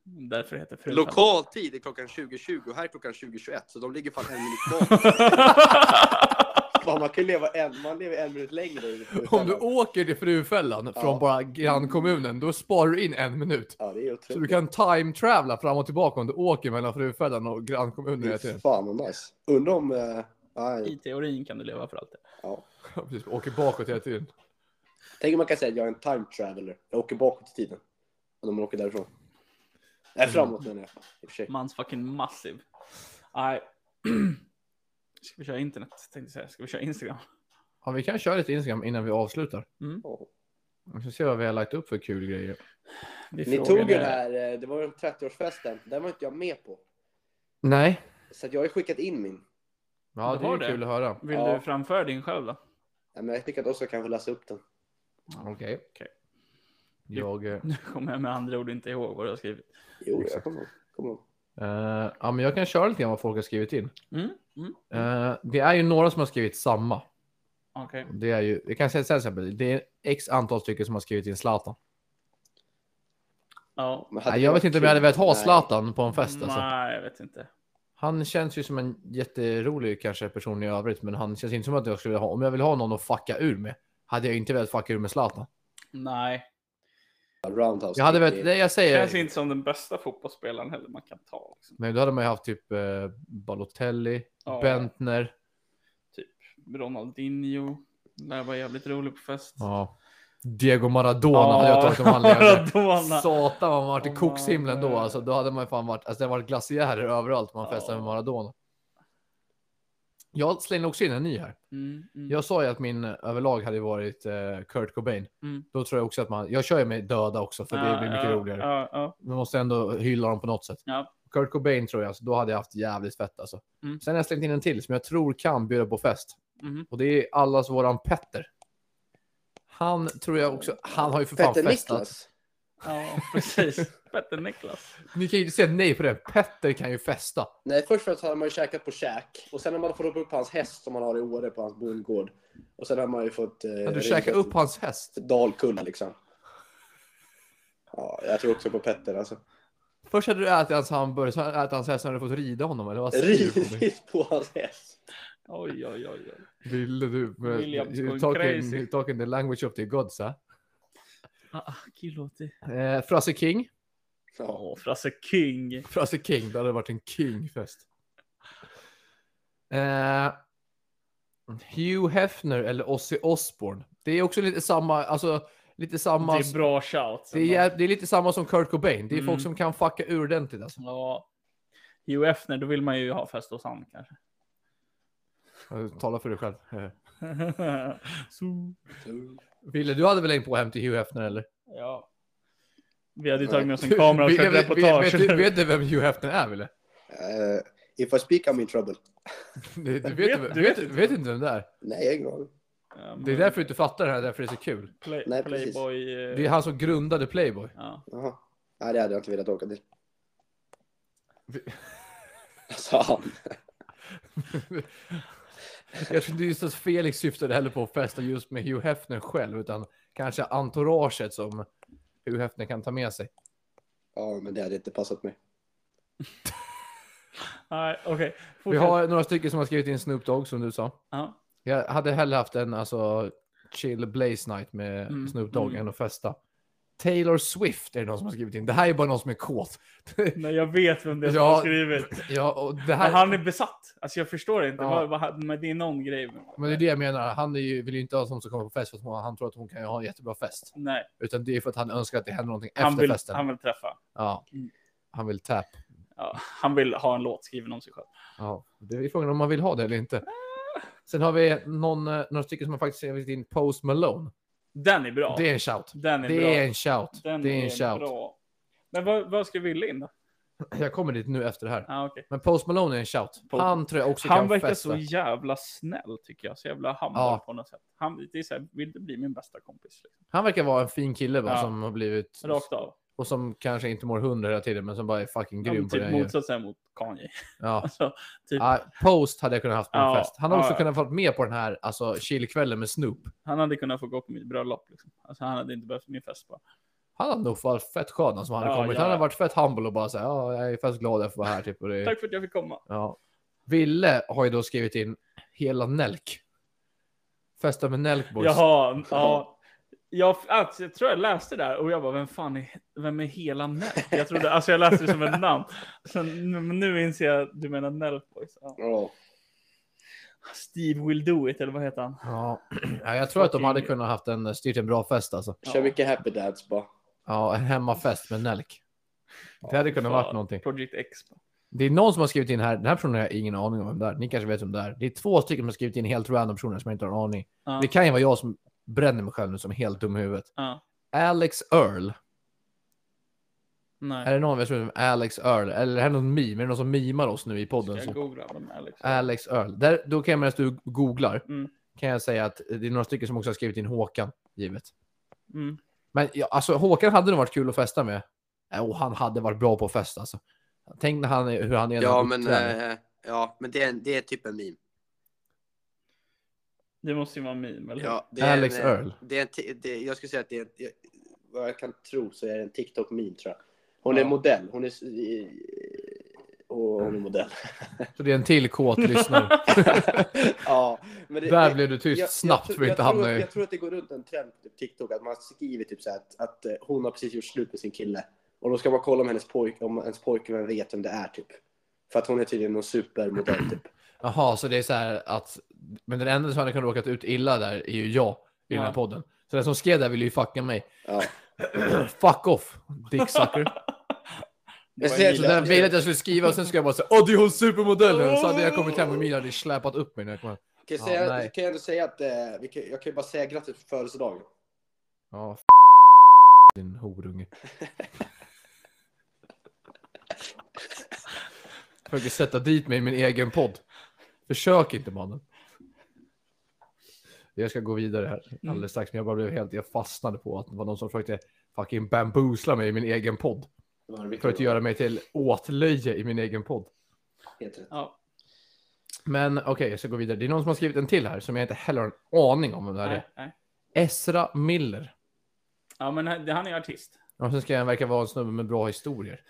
S1: Därför heter det Frufällan.
S3: Lokal tid är klockan 20.20 och här är klockan 20.21 så de ligger fan en minut bak. Fan, man kan leva en, man lever en minut längre. i
S2: Om du
S3: Frufällan.
S2: åker till Frufällan
S3: Ja.
S2: från bara grannkommunen, då sparar du in en minut.
S3: Ja, det är
S2: Så du
S3: otroligt.
S2: kan time-travla fram och tillbaka om du åker mellan Frufällan och grannkommunen hela
S3: Fy
S2: tiden.
S3: Fan vad nice. Undrar om... eh, nej.
S1: I teorin kan du leva för alltid.
S2: Ja, Precis, åker bakåt hela tiden.
S3: Tänk om man kan säga att jag är en time traveler. Jag åker bakåt i tiden. När man åker därifrån. Nej, framåt menar jag. I och för sig.
S1: Mans fucking massiv. Nej. Ska vi köra internet? Tänkte jag säga. Ska vi köra Instagram? Mm.
S2: Ja, vi kan köra lite Instagram innan vi avslutar.
S3: Ja.
S2: Vi ska se vad vi har lagt upp för kul grejer.
S1: Vi
S3: Ni
S1: frågade-
S3: tog ju det här, eh, det var ju den 30-årsfesten. Den var inte jag med på.
S2: Nej.
S3: Så att jag har ju skickat in min.
S2: Ja,
S1: Du
S2: det är
S1: har
S2: ju
S1: det?
S2: kul att höra.
S1: Vill
S3: Ja.
S1: du framföra din själv då?
S3: Nej, men jag tycker att Oskar kan få läsa upp den.
S2: Okej.
S1: Okej.
S2: Jag... eh,
S1: Nu kommer jag med andra ord inte ihåg vad du har skrivit.
S3: Jo, jag
S2: Exakt.
S3: kommer ihåg. Kommer ihåg.
S2: eh, ja, men jag kan köra lite grann vad folk har skrivit in.
S1: Mm? Mm?
S2: Eh, det är ju några som har skrivit samma.
S1: Okej.
S2: Det är ju, jag kan säga till exempel, det är x antal stycken som har skrivit in Zlatan.
S1: Ja.
S3: Men hade
S2: Nej,
S3: det
S2: jag vet
S3: varit
S2: inte om jag hade
S3: kul?
S2: velat ha
S3: Nej.
S2: Zlatan på en fest. Alltså.
S1: Nej, jag vet inte.
S2: Han känns ju som en jätterolig kanske person i övrigt, men han känns inte som att jag skulle vilja ha. Om jag vill ha någon att fucka ur med, hade jag inte velat fucka ur med Zlatan.
S1: Nej.
S3: Roundhouse.
S2: Jag hade
S3: kick
S2: velat,
S3: i-
S2: det jag
S1: Känns
S2: säger.
S1: inte som den bästa fotbollsspelaren heller man kan ta. Liksom.
S2: Men då hade man ju haft typ eh, Balotelli,
S1: Ja.
S2: Bentner.
S1: Ronaldinho. Lär vara jävligt rolig på fest.
S2: Ja. Diego Maradona hade jag tagit om han levde.
S1: Maradona.
S2: Satan vad man varit i
S1: Om man-
S2: kokshimlen då. Alltså, då hade man ju fan varit, alltså, det hade varit glaciärer överallt man festade med
S1: Ja.
S2: Maradona. Jag slänger också in en ny här.
S1: Mm, mm.
S2: Jag sa ju att min överlag hade varit eh, Kurt Cobain.
S1: Mm.
S2: Då tror jag också att man, jag kör ju med döda också för det
S1: Ja,
S2: blir mycket
S1: ja,
S2: roligare.
S1: Ja, ja.
S2: Man måste ändå hylla dem på något sätt.
S1: Ja.
S2: Kurt Cobain tror jag, alltså, då hade jag haft jävligt fett alltså.
S1: Mm.
S2: Sen har jag slängt in en till som jag tror kan bjuda på fest.
S1: Mhm.
S2: Och det är allas våran Petter. Han tror jag också, han har ju för fan
S3: Petter
S2: festat.
S3: Niklas.
S1: Ja, precis. Petter Niklas.
S2: Ni kan ju inte säga nej på det. Petter kan ju festa.
S3: Nej, först och främst hade man ju käkat på käk. Och sen har man fått ropa upp hans häst som han har i Åre på hans bondgård. Och sen har man ju fått... Eh,
S2: Kan du
S3: ringa
S2: käka
S3: till-
S2: upp hans häst?
S3: till Dalkulla liksom. Ja, jag tror också på Petter alltså.
S2: Först hade du ätit hans hamburgare, sen hade du ätit hans häst, sen hade du fått rida honom. Eller vad säger du? på mig?
S3: Riktigt på hans häst.
S1: Oj, oj, oj. oj.
S2: Ville du? men-
S1: William's
S2: You're
S1: going
S2: talking,
S1: crazy.
S2: you're talking the language of the gods, eh?
S1: Ah, Kiloti.
S2: eh Frasse King.
S3: Ja.
S1: Åh, Frasse King.
S2: Frasse King, det hade varit en kingfest. Eh, Hugh Hefner eller Ozzy Osbourne. Det är också lite samma, alltså lite samma.
S1: Det är bra shout.
S2: det är, jä- det är lite samma som Kurt Cobain. Det är
S1: Mm.
S2: folk som kan fucka ur ordentligt alltså.
S1: Ja. Hugh Hefner, då vill man ju ha fest hos han kanske.
S2: Tala för dig själv. Eh, Ville, du hade väl hängt på hem till Hugh Hefner eller?
S1: ja. Vi hade ju tagit med oss en kamera och kört reportage.
S2: Vet, vet, vet, vet du vem Hugh Hefner är Ville?
S3: Eh, if I speak I'm in trouble.
S2: Du, du,
S1: vet- Mm.
S2: vet, du, vet, du vet inte vem det är?
S3: Nej, jag har ingen aning.
S1: Ja, men-
S2: Det är därför du inte fattar det här, därför det är så kul.
S1: Play,
S3: Nej, precis.
S1: Playboy... eh,
S2: Det är han som grundade Playboy.
S1: Ja.
S3: Jaha. Nej, det hade jag inte velat åka till.
S2: Vi-
S3: Alltså, han.
S2: Jag tror inte just att Felix syftade heller på att festa just med Hugh Hefner själv, utan kanske entouraget som Hugh Hefner kan ta med sig.
S3: Ja, men det hade inte passat mig.
S1: Nej, okej.
S2: Vi
S1: Fortsätt.
S2: har några stycken som har skrivit in Snoop Dogg som du sa.
S1: Ja.
S2: Jag hade hellre haft en alltså, chill blaze night med
S1: Mm,
S2: Snoop Dogg
S1: mm.
S2: än att festa. Taylor Swift är det någon som har skrivit in. Det här är bara någon som är kåt.
S1: Nej, jag vet vem det är som
S2: Ja,
S1: har skrivit.
S2: ja, och det
S1: Men
S2: här,
S1: han är besatt. Alltså jag förstår inte.
S2: Ja.
S1: Vad, vad, men det är någon grej.
S2: Men det är det jag menar. Han är ju, vill ju inte ha någon som kommer på fest för att hon- han tror att hon kan ha en jättebra fest.
S1: Nej,
S2: Utan det är för att han önskar att det händer någonting
S1: han
S2: efter
S1: vill,
S2: festen.
S1: han vill träffa.
S2: Ja.
S1: Mm.
S2: Han vill tap.
S1: Ja, han vill ha en låt skriven om sig själv.
S2: Ja, det är frågan om man vill ha det eller inte.
S1: Ah.
S2: Sen har vi någon, eh, några stycken som har faktiskt skrivit in Post Malone.
S1: Den är bra.
S2: Det är en shout.
S1: Den är
S2: Det
S1: bra.
S2: är en shout.
S1: Den
S2: det är en shout.
S1: bra. Men vad, vad ska Wille in då?
S2: Jag kommer dit nu efter det här.
S1: Ah, okej.
S2: Men Post Malone är en shout.
S1: Post-
S2: Han tror jag också
S1: Han
S2: kan
S1: verkar
S2: festa.
S1: så jävla snäll tycker jag. Så jävla humble
S2: Ja.
S1: på något sätt. Han, det är så här, vill du bli min bästa kompis? Liksom.
S2: Han verkar vara en fin kille bara
S1: Ja.
S2: som har blivit...
S1: Rakt av.
S2: Och som kanske inte mår hundra hela tiden men som bara är fucking
S1: Ja,
S2: grym
S1: men
S2: på det
S1: typ
S2: han gör.
S1: motsatsen mot Kanye.
S2: Ja.
S1: Alltså, typ,
S2: Ja, Post hade jag kunnat haft på en
S1: Ja,
S2: fest. Han har
S1: ja,
S2: också
S1: ja.
S2: kunnat fått med på den här alltså, chillkvällen med Snoop.
S1: Han hade kunnat få gå på mitt bröllop. Liksom. Alltså, han hade inte behövt min fest bara.
S2: Han hade nog varit fett skön alltså, om han hade
S1: Ja,
S2: kommit.
S1: ja.
S2: Han hade varit fett humble och bara såhär, ja, jag är fett glad att få vara här typ. Och det,
S1: Tack för att jag fick komma.
S2: Ja. Ville har ju då skrivit in hela Nelk. Festa med Nelk boys.
S1: Jaha, ja. Jag, alltså, jag tror jag läste det där och jag bara, vem fan är, vem är hela Nelk? Jag trodde, alltså jag läste det som ett namn. Sen, nu- nu inser jag att du menar Nelk Boys. Ja.
S3: Ja.
S1: Steve Will Do It, eller vad heter han?
S2: Ja. Ja, jag tror att de hade kunnat haft en, styrt en bra fest alltså.
S3: Kör mycket happy dads bara.
S2: Ja, en hemmafest med Nelk. Det hade kunnat varit
S1: Fan,
S2: någonting.
S1: Project X.
S2: Det är någon som har skrivit in här. Den här personen har jag ingen aning om vem det är. Ni kanske vet vem det är. Det är två stycken som har skrivit in helt random personer som jag inte har en aning.
S1: Ja.
S2: Det kan ju vara jag som bränner mig själv nu som är helt dum i huvudet.
S1: Ja.
S2: Alex Earl.
S1: Nej,
S2: Är det någon vi har skrivit om Alex Earl? Eller är det någon meme? Är det någon som mimar oss nu i podden?
S1: jag
S2: Som...
S1: googlar dem här liksom.
S2: Alex Earl. Där, då kan jag medan du googlar
S1: Mm.
S2: kan jag säga att det är några stycken som också har skrivit in Håkan, givet.
S1: Mm.
S2: Men ja, alltså Håkan hade nog varit kul att festa med. Eh, Och han hade varit bra på att festa alltså. Tänk när han, är- hur han är när
S3: Ja,
S2: han
S3: men,
S2: uppträder.
S3: eh, ja, men det, är en, det är typ en meme.
S1: Det måste ju vara en meme, eller
S3: Ja, det är
S2: Alex
S3: en, eh,
S2: Earl.
S3: Det är en, ti- det, jag skulle säga att det är, jag, vad jag kan tro så är det en TikTok-meme tror jag. Hon är
S1: Ja.
S3: modell. Hon är... s- i- Och hon är modell.
S2: Så det är en till kåt lyssnare.
S3: ja, men det,
S2: Där
S3: det-
S2: blev du tyst
S3: jag- jag
S2: snabbt
S3: tror-
S2: för att inte
S3: jag
S2: hamna
S3: tror att-
S2: i...
S3: Jag tror att det går runt en trend på typ TikTok att man skriver typ så här att, att eh, hon har precis gjort slut med sin kille. Och då ska man kolla om, hennes pojk, om ens pojkvän vet vem det är typ. För att hon är tydligen någon supermodell typ.
S2: Jaha, så det är så här att... Men den enda som hade kunnat råkat ut illa där är ju jag i den
S1: Ja.
S2: här podden. Så den som skrev där ville ju fucka mig.
S3: Ja.
S2: Fuck off, dick sucker.
S1: Det
S3: Jag
S1: var
S3: säger
S1: en
S2: Så
S3: så
S1: meme.
S2: den ville att jag skulle skriva och sen skulle jag bara säga Åh, det är hon supermodellen! Så hade jag kommit hem och Mina hade släpat upp mig när jag kom hem.
S3: Kan
S2: Ja,
S3: jag, säga,
S2: nej.
S3: kan jag ändå säga att eh, vi kan, jag kan ju bara säga grattis på födelsedagen.
S2: Ja, f- din horunge. Försöker sätta dit mig i min egen podd. Försök inte mannen. Jag ska gå vidare här alldeles strax, men jag bara blev helt, jag fastnade på att det var någon som försökte fucking bamboozla mig i min egen podd.
S3: Det var en riktig
S2: För att göra mig till åtlöje i min egen podd.
S3: Helt rätt.
S1: Ja.
S2: Men okej, jag ska gå vidare. Det är någon som har skrivit en till här som jag inte heller har en aning om vem det här är.
S1: Nej, nej.
S2: Ezra Miller.
S1: ja, men han han är artist.
S2: Och sen ska han verka vara en snubbe med bra historier.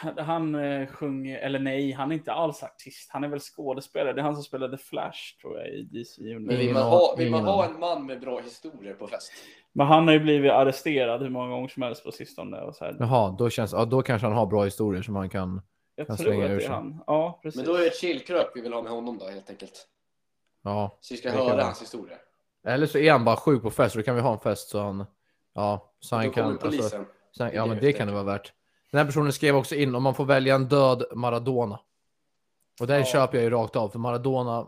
S1: Han- Han eh, sjunger, eller nej, han är inte alls artist. Han är väl skådespelare. Det är han som spelade Flash tror jag i DC
S3: Men
S1: Universe.
S3: vill
S2: Ingen
S3: man, ha,
S2: an-
S3: vill man
S2: ingen
S3: ha en man med bra historier på fest?
S1: Men han har ju blivit arresterad hur många gånger som helst på sistone. Och så här.
S2: Jaha, då, känns, ja, då kanske han har bra historier som han kan...
S1: Jag
S2: han
S1: tror
S2: slänger
S1: att
S2: ur
S1: det är
S2: sig.
S1: han. Ja, precis.
S3: Men då är det ett chillkrök vi vill ha med honom då helt enkelt.
S2: Ja.
S3: Så vi ska
S2: Det kan
S3: höra
S2: vara.
S3: hans historia.
S2: Eller så är han bara sjuk på fest, så då kan vi ha en fest så han... Ja, så
S3: Då
S2: han
S3: kommer
S2: kan... Alltså,
S3: polisen.
S2: så han, ja,
S3: Det
S2: men
S3: är
S2: det
S3: just
S2: kan det
S3: det.
S2: vara värt. Den här personen skrev också in om man får välja en död Maradona. Och den
S1: Ja.
S2: köper jag ju rakt av, för Maradona...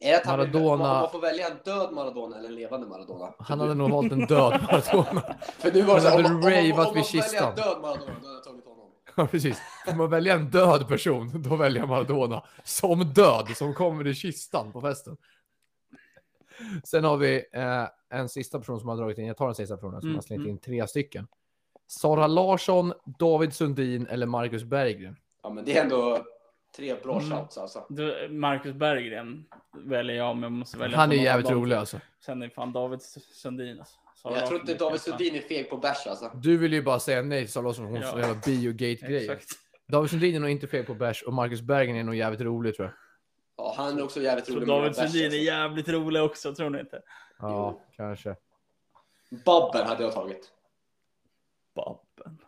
S3: Är det att han
S2: Maradona-
S3: Blir, man, man får välja en död Maradona eller en levande Maradona.
S2: Han hade nog valt en död Maradona.
S3: För nu var det så här,
S2: Han
S3: om,
S2: hade
S3: man- om, man- om,
S2: raveat
S3: man
S2: vid
S3: väljer
S2: kistan.
S3: en död Maradona, då hade jag tagit honom.
S2: Ja, precis. Får man välja en död person, då väljer jag Maradona. Som död, som kommer i kistan på festen. Sen har vi eh, en sista person som har dragit in. Jag tar den sista personen som
S1: Mm,
S2: har slängt
S1: mm.
S2: in tre stycken. Sara Larsson, David Sundin eller Marcus Berggren.
S3: Ja, men det är ändå tre bra
S1: Mm.
S3: shouts alltså.
S1: Du, Marcus Berggren väljer jag om jag måste välja.
S2: Han är
S1: någon
S2: jävligt
S1: av dem.
S2: rolig alltså.
S1: Sen är fan David Sundin. Alltså. Sara
S3: Jag tror
S1: Larsson
S3: inte
S1: är
S3: David
S1: fan-
S3: Sundin är feg på bärs alltså.
S2: Du vill ju bara säga nej till Sara Larsson, hon
S1: Ja.
S2: som jävla biogate-grejer.
S1: Exakt.
S2: David Sundin är nog inte fel på bärs och Marcus Berggren är nog jävligt rolig tror jag.
S3: Ja, han är också jävligt
S1: Så
S3: rolig. med
S1: David
S3: bärs,
S1: Sundin är
S3: alltså.
S1: jävligt rolig också, tror ni inte?
S2: Ja,
S3: Jo.
S2: kanske.
S3: Babben hade jag tagit.
S1: Babben.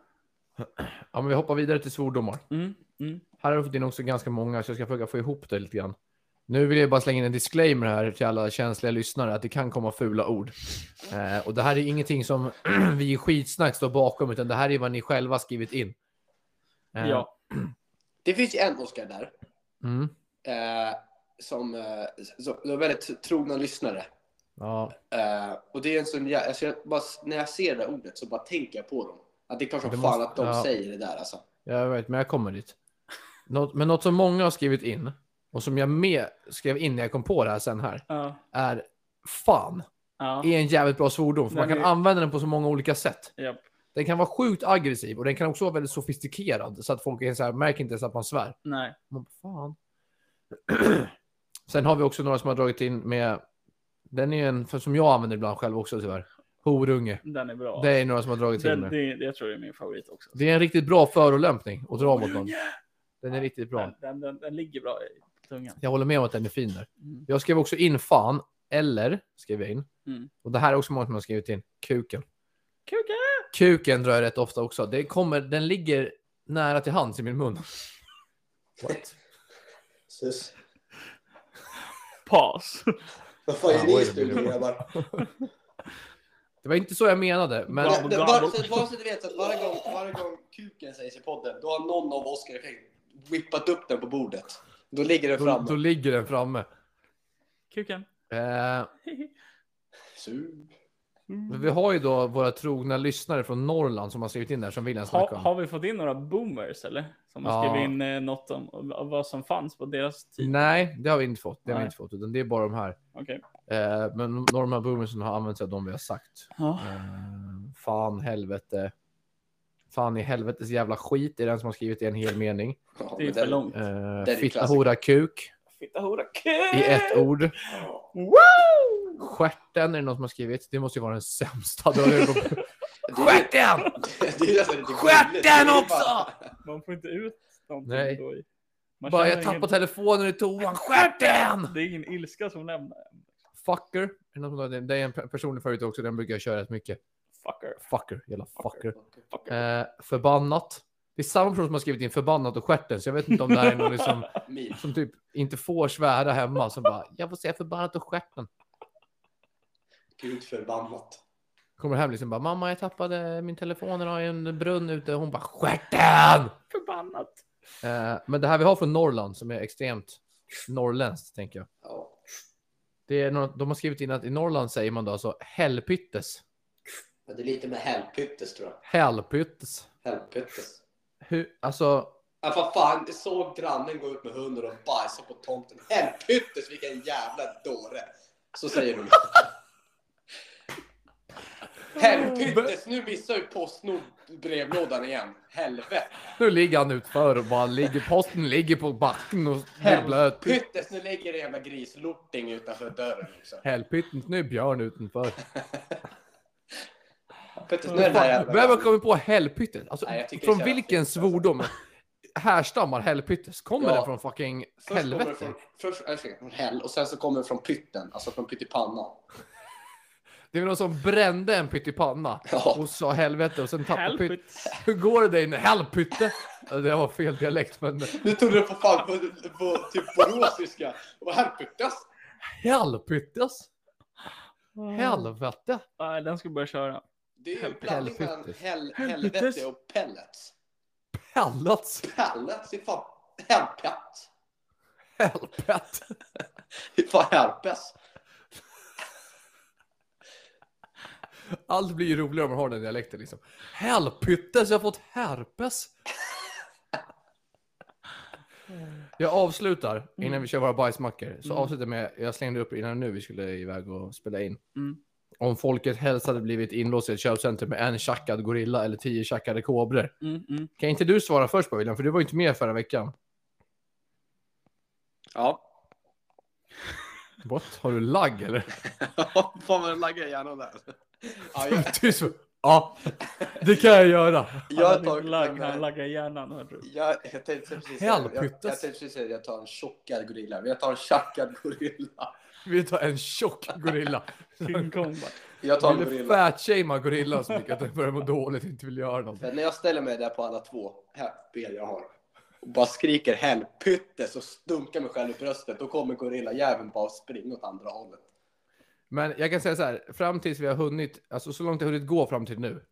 S2: Ja, men vi hoppar vidare till svordomar.
S1: Mm, mm.
S2: Här har vi fått in också ganska många, så jag ska försöka få ihop det lite grann. Nu vill jag bara slänga in en disclaimer här till alla känsliga lyssnare att det kan komma fula ord. Eh, och det här är ingenting som vi i skitsnack står bakom, utan det här är vad ni själva skrivit in. Eh,
S1: Ja.
S3: Det finns ju en Oscar där.
S2: Mm,
S3: Eh, som, eh, som som är väldigt trogna lyssnare.
S2: ja,
S3: Eh, och det är en sån jä- alltså jag bara, när jag ser det där ordet så bara tänker jag på dem. Att det är klart som
S2: Det
S3: fan
S2: måste-
S3: att de
S2: ja.
S3: säger det där alltså.
S2: jag vet, men jag kommer dit. Något, men något som många har skrivit in, och som jag med skrev in när jag kom på det här sen här,
S1: Ja.
S2: är fan
S1: Ja.
S2: är en jävligt bra svordom, för man
S1: Den
S2: kan
S1: är-
S2: använda den på så många olika sätt.
S1: Japp.
S2: Den kan vara sjukt aggressiv och den kan också vara väldigt sofistikerad så att folk är så här, märker inte ens att man svär.
S1: Nej.
S2: Man, bara, fan. Sen har vi också några som har dragit in med, den är ju en för- som jag använder ibland själv också tyvärr, horunge.
S1: Den är bra.
S2: Det är några som har dragit in
S1: den,
S2: med.
S1: det, det, jag tror det är min favorit också.
S2: Det är en riktigt bra förolämpning att dra mot någon. Den är riktigt bra.
S1: Den, den, den, den ligger bra i tungan.
S2: Jag håller med om att den är fin där.
S1: Mm.
S2: Jag skrev också in fan, eller skrev jag in.
S1: Mm.
S2: Och det här är också många som har skrivit in, kuken.
S1: Kuka!
S2: Kuken drar jag rätt ofta också. Det kommer, den ligger nära till hands i min mun. What?
S3: Sus.
S1: Paus.
S3: Vad fan
S2: Ja,
S3: är ni
S2: oj,
S3: i studion
S2: Emilio.
S3: grabbar?
S2: Det var inte så jag menade, men
S1: Bravo.
S3: Men- men Bara så- bara så att du vet så att varje gång, varje gång kuken sägs i podden, då har någon av Oscar och Fredrik whippat upp den på bordet. Då ligger den
S2: då,
S3: framme.
S2: då ligger den framme.
S1: Kuken.
S2: Eh,
S3: Su.
S2: vi har ju då våra trogna lyssnare från Norrland som har skrivit in där som vill en snacka
S1: Ha,
S2: om.
S1: har vi fått in några boomers eller? Som har
S2: Ja.
S1: skrivit in eh, något om om vad som fanns på deras tid.
S2: Nej, det har vi inte fått. Det har vi
S1: Nej.
S2: inte fått, utan det är bara de här.
S1: Okej.
S2: Eh, men Norman Boomersen har använt sig av de vi har sagt.
S1: Ja.
S2: Eh, fan, helvete. Fan i helvetes jävla skit är den som har skrivit i en hel mening.
S3: Ja,
S1: Det är
S3: men
S1: för
S3: den-
S1: långt.
S2: Eh,
S3: ju
S2: fitta,
S3: klassiker.
S2: hora, kuk
S1: Fitta hora
S2: i ett ord.
S3: Ja.
S1: Wow!
S2: Stjärten är det någon som har skrivit. Det måste ju vara den sämsta. Då har jag gått-
S3: Det är-
S2: Stjärten!
S3: Det är nästan lite
S2: Skärp
S3: gulligt.
S2: den
S3: Det är
S2: också!
S3: bara-
S1: Man får inte ut någonting
S2: Nej.
S1: då. i- Man
S2: Bara
S1: känner
S2: jag tappar
S1: ingen,
S2: telefonen i toan. Skärp den!
S1: Det är ingen ilska som lämnar. en.
S2: Fucker. Är det någon som har- det- Det är en pe- personlig favorit också. Den brukar jag köra rätt mycket.
S1: Fucker.
S2: Fucker. Jävla fucker.
S1: Fucker.
S2: Eh, förbannat. Det är samma person som har skrivit in förbannat och stjärten. Så jag vet inte om det här är någon liksom,
S3: Min.
S2: som typ inte får svära hemma. Som bara, jag får säga förbannat och stjärten.
S3: Gud förbannat.
S2: Kommer hem liksom bara, mamma jag tappade min telefon. Den har ju en brunn ute. Hon bara, stjärten!
S1: Förbannat.
S2: Eh, men det här vi har från Norrland som är extremt norrländskt tänker jag.
S3: Ja.
S2: Det är något, de har skrivit in att i Norrland säger man då alltså helpyttes.
S3: Men det är lite med helpyttes tror jag.
S2: Helpyttes.
S3: Helpyttes.
S2: Hur, alltså,
S3: Ja, Äh, vad fan, jag såg grannen gå ut med hunden och bajsa på tomten. Helpyttes vilken jävla dåre. Så säger hon. Helpyttes, nu missar ju Postnord brevlådan igen. Helvete.
S2: nu ligger han utför och bara ligger, posten ligger på backen och dribblar ut.
S3: Helpyttes, nu ligger det jävla grislorting utanför dörren. Också.
S2: Helpyttes, nu är Björn utanför.
S3: Helpyttes, nu är det här jävla...
S2: Vem har kommit på helpyttes? Alltså,
S3: Nej, jag tycker
S2: från
S3: det känns
S2: vilken
S3: fint, alltså.
S2: svordom härstammar helpyttes? Kommer
S3: Ja.
S2: det från fucking
S3: Först kommer det
S2: helvete?
S3: från, först, äh, ursäkta, från hell och sen så kommer det från pytten, alltså från pyttipannan.
S2: Det är väl någon som brände en pyttipanna
S3: Ja.
S2: och sa helvete och sen tappade pytt.
S1: Helpits.
S2: Hur går det dig nu? Helpytte? Ja, Det var fel dialekt, men
S3: Nu tog du på fan på, på typ boråsiska. Vad helpyttes?
S2: helpyttes?
S3: Mm.
S2: Helvete.
S1: Nej, den ska jag börja köra.
S3: Det är ju en
S1: Help-
S3: blandning mellan
S2: helpyttes.
S3: hel,
S1: Helpyttes.
S3: helvete och pellets.
S2: Pellets.
S3: Pellets är fan helpett.
S2: Helpet.
S3: Hur fan herpes?
S2: Allt blir ju roligare om man har den dialekten liksom. Helpyttes, jag har fått herpes! Jag avslutar innan vi kör våra bajsmackor. Så
S1: Mm.
S2: avslutar jag med, jag slängde upp innan nu vi skulle iväg och spela in.
S1: Mm.
S2: Om folket helst hade blivit inlåst i ett köpcenter med en tjackad gorilla eller tio tjackade kobror.
S1: Mm, mm.
S2: Kan inte du svara först på William? För du var ju inte med förra veckan.
S3: Ja.
S2: What? Har du lagg eller?
S3: fan vad den laggar i hjärnan där. Ja, jag,
S2: Tyst. Ja, det kan jag göra.
S1: Han
S3: jag,
S1: hade
S3: tar,
S1: lagg,
S3: nej,
S1: han
S3: men-
S1: laggar hjärnan. hörde du.
S3: jag, jag tänkte precis säga det. jag, jag
S2: Helpyttes.
S3: tänkte precis säga att jag tar en tjockad gorilla. Men jag tar en tjackad gorilla.
S2: Vi tar en tjock gorilla.
S1: King Kong bara.
S3: Jag tar en
S2: Ville
S3: gorilla.
S2: fatshamea gorillan så mycket att den börjar må dåligt och inte vill göra någonting.
S3: Men när jag ställer mig där på alla två ben jag har och bara skriker helpyttes och stunkar mig själv i bröstet, då kommer gorillajäveln bara springa åt andra hållet.
S2: Men jag kan säga så här, fram tills vi har hunnit, alltså så långt det har hunnit gå fram till nu,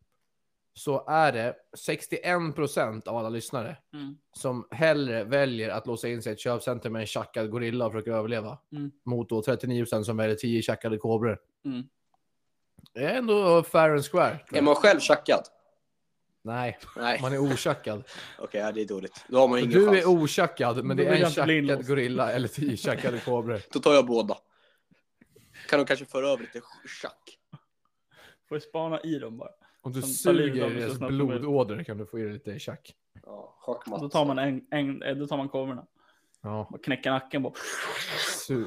S2: så är det 61% av alla lyssnare
S1: Mm.
S2: som hellre väljer att låsa in sig i ett köpcenter med en tjackad gorilla och försöka överleva.
S1: Mm.
S2: Mot då 39% som väljer 10 tjackade kobror.
S1: Mm.
S2: Det är ändå fair and square. tror jag.
S3: Är man själv tjackad?
S2: Nej,
S3: Nej,
S2: man är otjackad.
S3: okej, ja, det är dåligt. Då har man ingen
S2: Du
S3: chans.
S2: är otjackad, men
S1: Då
S2: det är
S1: vill jag
S2: en
S1: inte bli inlåst.
S2: tjackad gorilla eller 10 tjackade kobror.
S3: Då tar jag båda. Kan de kanske föra över lite tjack?
S1: Får jag spana i dem bara.
S2: Om du
S1: Som
S2: suger
S1: saliv,
S2: i
S1: de är så
S2: deras
S1: snabbt som möjligt.
S2: blodåder kan du få i dig lite tjack.
S3: Ja, schackmatt.
S1: Då tar man, en, en, eh, då tar man koverna.
S2: Ja.
S1: Och knäcker nacken bara.
S2: Su-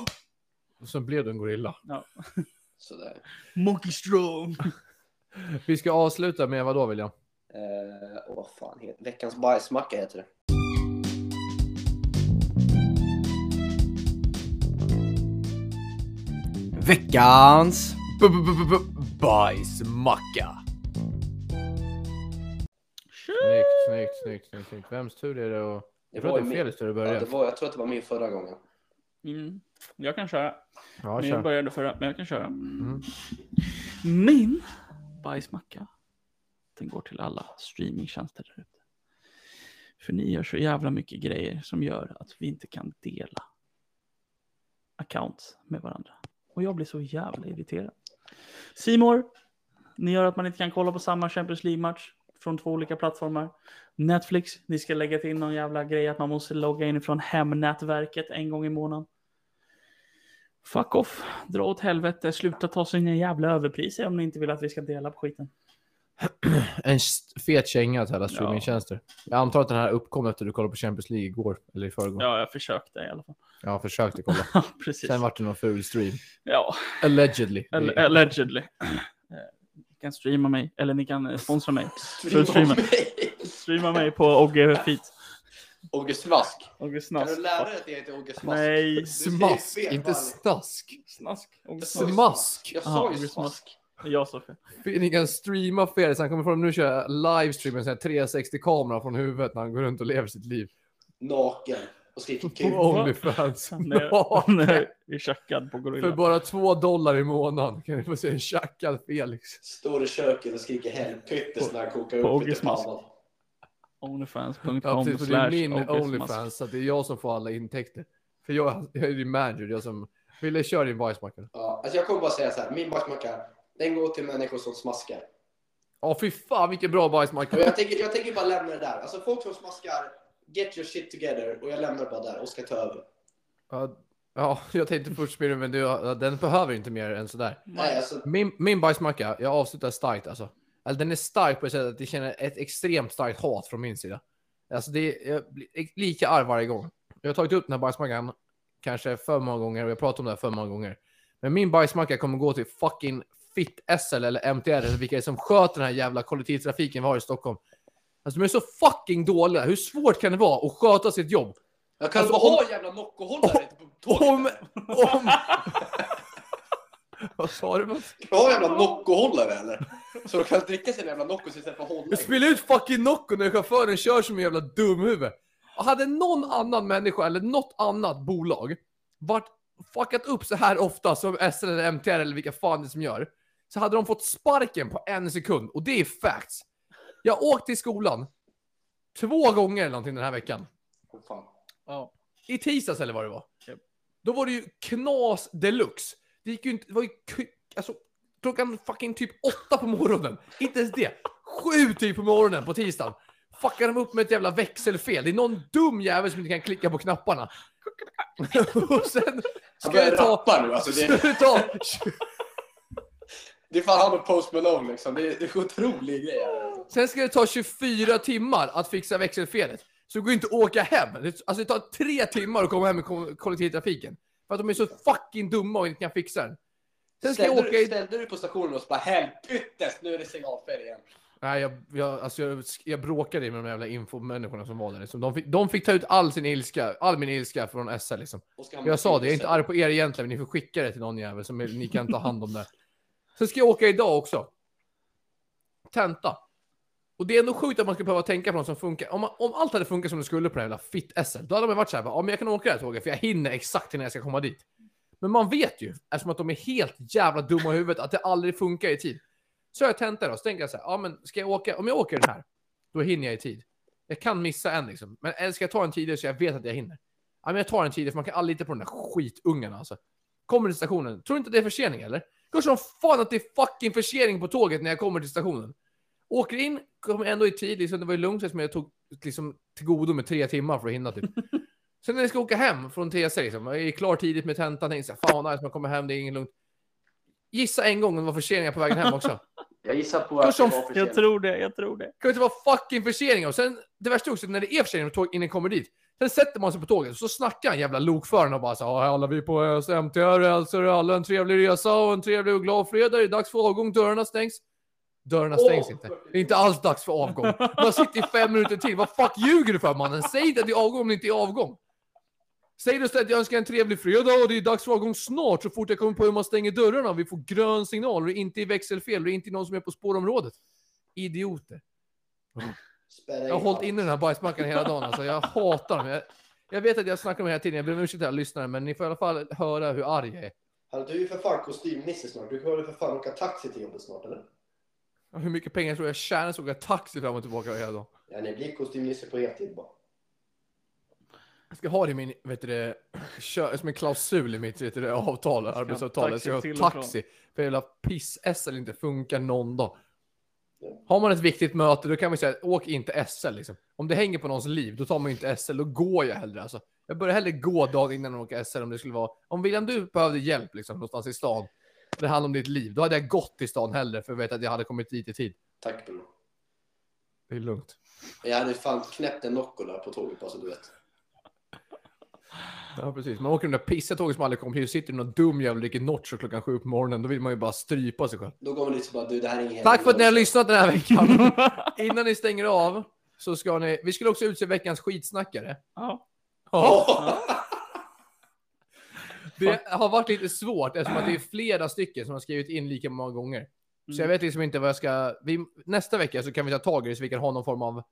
S2: och så blev du en gorilla.
S3: Sådär.
S1: Monkey strong!
S2: Vi ska avsluta med vad då William?
S3: Eh, åh, vad fan heter Veckans bajsmacka heter det.
S2: Veckans bajsmacka. Snyggt, snyggt, snyggt, snyggt, snyggt. Vems tur är det att... Jag tror
S3: var
S2: att det är
S3: ju
S2: Felix tur att
S3: Ja, det
S2: börja.
S3: var, jag tror att det var min förra gången.
S1: Mm. Jag kan köra.
S2: Ja,
S1: Men jag
S2: kör. Mm.
S1: började förra, men jag kan köra. Min bajsmacka, den går till alla streamingtjänster där ute. För ni gör så jävla mycket grejer som gör att vi inte kan dela accounts med varandra. Och jag blir så jävla irriterad. Simor, ni gör att man inte kan kolla på samma Champions League-match från två olika plattformar. Netflix, ni ska lägga till någon jävla grej att man måste logga in från hemnätverket en gång i månaden. Fuck off, dra åt helvete, sluta ta sina jävla överpriser om ni inte vill att vi ska dela på skiten.
S2: En st- fet känga till alla
S1: Ja.
S2: streamingtjänster. Jag antar att den här uppkom efter du kollade på Champions League igår, eller i förrgår.
S1: Ja, jag försökte i alla fall.
S2: Jag försökte kolla.
S1: Ja, Precis.
S2: Sen vart det någon ful stream.
S1: Ja,
S2: Allegedly. Det-
S1: all- allegedly. Eh, Ni kan streama mig, eller ni kan eh, sponsra mig. Streama.
S3: mig!
S1: Streama mig på Ogge Feet.
S3: Åge Svask.
S1: Ogge
S3: Kan
S1: Snask.
S3: du lära dig att jag heter Åge Svask?
S1: Nej,
S2: Smask,
S3: fel,
S2: inte
S3: Fanny.
S2: stask.
S1: Snask. Ogge Snask.
S2: Smask.
S3: Jag
S1: Ja,
S3: sa
S1: Åge
S3: ju
S1: Svask.
S3: Svask.
S1: Jag sa fel.
S2: Ni kan streama Felix. Han kommer från nu köra livestream med en 360-kamera från huvudet när han går runt och lever sitt liv.
S3: Naken. Och skriker kul.
S2: På Onlyfans.
S1: Han är- Han är ju tjackad på
S2: För
S1: gorilla.
S2: bara två dollar i månaden kan ni få se en tjackad Felix.
S3: Står i köket och skriker helpyttes när han kokar upp
S1: på
S3: lite
S1: Åge Smask.
S3: pannan.
S1: Onlyfans.com
S2: Ja, precis. Och det
S1: slash
S2: är min
S1: Ogge Snask.
S2: Onlyfans, så att det är jag som får alla intäkter. För jag, jag är din manager, jag som... Ville, kör din bajsmacka.
S3: Ja, alltså jag kommer bara säga så här. Min bajsmacka, den går till människor som smaskar.
S2: Ja, fy fan vilken bra
S3: Och
S2: bajsmacka.
S3: jag tänker, jag tänker bara lämna det där. Alltså folk som smaskar, get your shit together. Och jag lämnar bara där och ska ta över.
S2: Ja, Ja, jag tänkte först Miriam, men du, ja, den behöver inte mer än sådär.
S3: Nej, alltså.
S2: Min, min bajsmacka, jag avslutar starkt alltså. Alltså den är stark på det sättet att jag känner ett extremt starkt hat från min sida. Alltså det är, jag blir lika arg varje gång. Jag har tagit upp den här bajsmackan kanske för många gånger och jag pratat om det här för många gånger. Men min bajsmacka kommer gå till fucking Fitt SL eller MTR eller vilka det är som sköter den här jävla kollektivtrafiken vi har i Stockholm. Alltså de är så fucking dåliga. Hur svårt kan det vara att sköta sitt jobb?
S3: Jag kan
S2: Alltså,
S3: bara
S2: om-
S3: ha en jävla Nocco-hållare på tåget.
S2: Om... om... Vad sa du? Mats?
S3: Ska jag ha en jävla Nocco-hållare eller? Så de kan dricka sina jävla Noccos istället för att hålla
S2: Jag
S3: i.
S2: spelar ut fucking Nocco när chauffören kör som en jävla dumhuvud. Och hade någon annan människa eller något annat bolag varit fuckat upp så här ofta som SL eller MTR eller vilka fan det är som gör. Så hade de fått sparken på en sekund och det är facts. Jag har åkt till skolan två gånger eller någonting den här veckan.
S3: Åh, fan.
S1: Ja.
S2: i tisdags eller vad det var.
S1: Japp.
S2: Då var det ju knas deluxe. Det gick ju inte, det var ju k- alltså, klockan fucking typ åtta på morgonen. Inte ens det. Sju typ på morgonen på tisdagen. Fuckar de upp med ett jävla växelfel. Det är någon dum jävel som inte kan klicka på knapparna. Och sen ska
S3: börjar
S2: det ta...
S3: rappa nu, alltså, det-
S2: ska det ta
S3: Det är fan han och Post Malone liksom. Det är, det är en otrolig grej. Alltså.
S2: Sen ska det ta 24 timmar att fixa växelfelet. Så det går inte att åka hem. Det- Alltså det tar tre timmar att komma hem i ko- kollektivtrafiken. För att de är så fucking dumma och inte kan fixa den. Sen ska jag
S3: Ställde,
S2: åka
S3: du,
S2: i...
S3: ställde du på stationen och så bara helpyttes, nu är det signalfel igen.
S2: Nej, jag, jag, alltså jag, jag bråkade med de jävla infomänniskorna som var där. Liksom. De, fick, de fick ta ut all sin ilska, all min ilska från SL liksom.
S3: Oskar Hammar-
S2: Jag sa det, jag är inte arg på er egentligen, men ni får skicka det till någon jävel som ni kan ta hand om det. Sen ska jag åka idag också. Tenta. Och det är ändå sjukt att man ska behöva tänka på något som funkar. Om, man, om allt hade funkat som det skulle på den här jävla fitt-SM, då hade man varit såhär, ja men jag kan åka det här tåget för jag hinner exakt innan jag ska komma dit. Men man vet ju, eftersom att de är helt jävla dumma i huvudet, att det aldrig funkar i tid. Så jag tentar då, så tänker jag så här, ja men ska jag åka, om jag åker den här, då hinner jag i tid. Jag kan missa en liksom, men eller ska jag ta en tidigare så jag vet att jag hinner? Ja, men jag tar en tidig för man kan aldrig lita på de där skitungarna alltså. Kommer till stationen. Tror du inte det är försening eller? Klart som fan att det är fucking försening på tåget när jag kommer till stationen. Åker in, kommer ändå i tid, liksom, det var ju lugnt eftersom jag tog liksom till godo med tre timmar för att hinna typ. Sen när jag ska åka hem från TC liksom, jag är klar tidigt med tentan, tänkte såhär, fan vad nice, man kommer hem, det är inget lugnt. Gissa en gång om det var förseningar på vägen hem också.
S3: Jag gissar på
S2: Då
S3: att det
S2: som-
S3: var för
S1: Jag
S3: sent.
S1: tror det, jag tror det.
S2: kan ju inte vara fucking förseningar. Och sen, det värsta är också när det är förseningar på tåg innan jag kommer dit. Sen sätter man sig på tåget och så snackar han jävla lokföraren och bara så här, alla vi på eh, MTR hälsar alla en trevlig resa och en trevlig och glad fredag. Det är dags för avgång, dörrarna stängs. Dörrarna stängs inte. Det är inte alls dags för avgång. Man sitter i fem minuter till. Vad fuck ljuger du för mannen? Säg inte att det är avgång om det inte är avgång. Säg då istället att jag önskar en trevlig fredag och det är dags för avgång snart så fort jag kommer på hur man stänger dörrarna och vi får grön signal och det är inte i växelfel och det är inte någon som är på spårområdet. Idioter.
S3: Spärra
S2: Jag har hållit inne den här bajsmackan hela dagen. Alltså. Jag hatar dem. Jag, jag vet att jag snackar om det hela tiden. Jag ber om ursäkt till alla lyssnare, men ni får i alla fall höra hur arg jag är.
S3: Hallå, Du är ju för fan kostymnisse snart. Du kommer väl för fan åka taxi till jobbet snart eller?
S2: Hur mycket pengar tror jag jag tjänar så åker jag taxi fram och tillbaka hela dagen.
S3: Ja, ni blir kostymnisse på heltid bara.
S2: Jag ska ha det i min, vet du det, kö- som en klausul i mitt vet du det, avtal, arbetsavtal.
S1: taxi
S2: Så jag
S1: till
S2: har
S1: och från.
S2: taxi. För jävla piss-SL inte funkar någon dag. Har man ett viktigt möte, då kan man ju säga åk inte SL liksom. Om det hänger på någons liv, då tar man ju inte SL. Då går jag hellre alltså. Jag börjar hellre gå dagen innan jag åker SL om det skulle vara... Om William, du behövde hjälp liksom någonstans i stan. Det handlar om ditt liv. Då hade jag gått till stan hellre för jag vet att jag hade kommit dit i tid.
S3: Tack bror.
S2: Det är lugnt.
S3: Jag hade fan knäppt en Nocco där på tåget bara så du vet.
S2: Ja, precis. Man åker de där pissiga tågen som aldrig kommer till. Sitter någon dum jävel och dricker Notch klockan sju på morgonen. Då vill man ju bara strypa sig själv.
S3: Då går man dit och bara du det här är ingen
S2: Tack för att ni har lyssnat den här veckan. Innan ni stänger av så ska ni... Vi skulle också utse veckans skitsnackare.
S1: Ja.
S2: Det har varit lite svårt eftersom att det är flera stycken som har skrivit in lika många gånger. Så jag
S1: Mm.
S2: vet liksom inte vad jag ska... Vi, nästa vecka så kan vi ta tag i det så vi kan ha någon form av...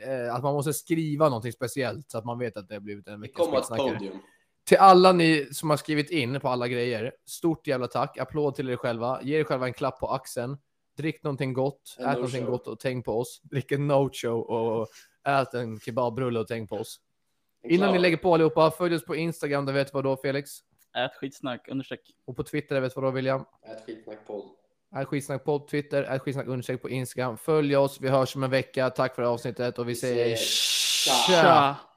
S2: Eh, att man måste skriva någonting speciellt så att man vet att det har blivit en
S3: Det
S2: veckans
S3: kommer ett
S2: skitsnackare.
S3: podium.
S2: Till alla ni som har skrivit in på alla grejer, stort jävla tack. Applåd till er själva. Ge er själva en klapp på axeln. Drick någonting gott,
S3: En
S2: ät
S3: no
S2: någonting
S3: show.
S2: gott och tänk på oss. Drick en no-show och ät en kebabrulle och tänk på oss.
S3: En
S2: Innan ni
S3: klar.
S2: lägger på allihopa, följ oss på Instagram, där vet vad då Felix.
S1: Ät skitsnack, understreck.
S2: Och på Twitter, där vet vad då William.
S3: Ett skitsnack podd.
S2: Är skitsnack på Twitter, är skitsnack understreck på Instagram. Följ oss, vi hörs om en vecka. Tack för avsnittet och vi säger
S3: ses.
S2: tja.
S1: Tja.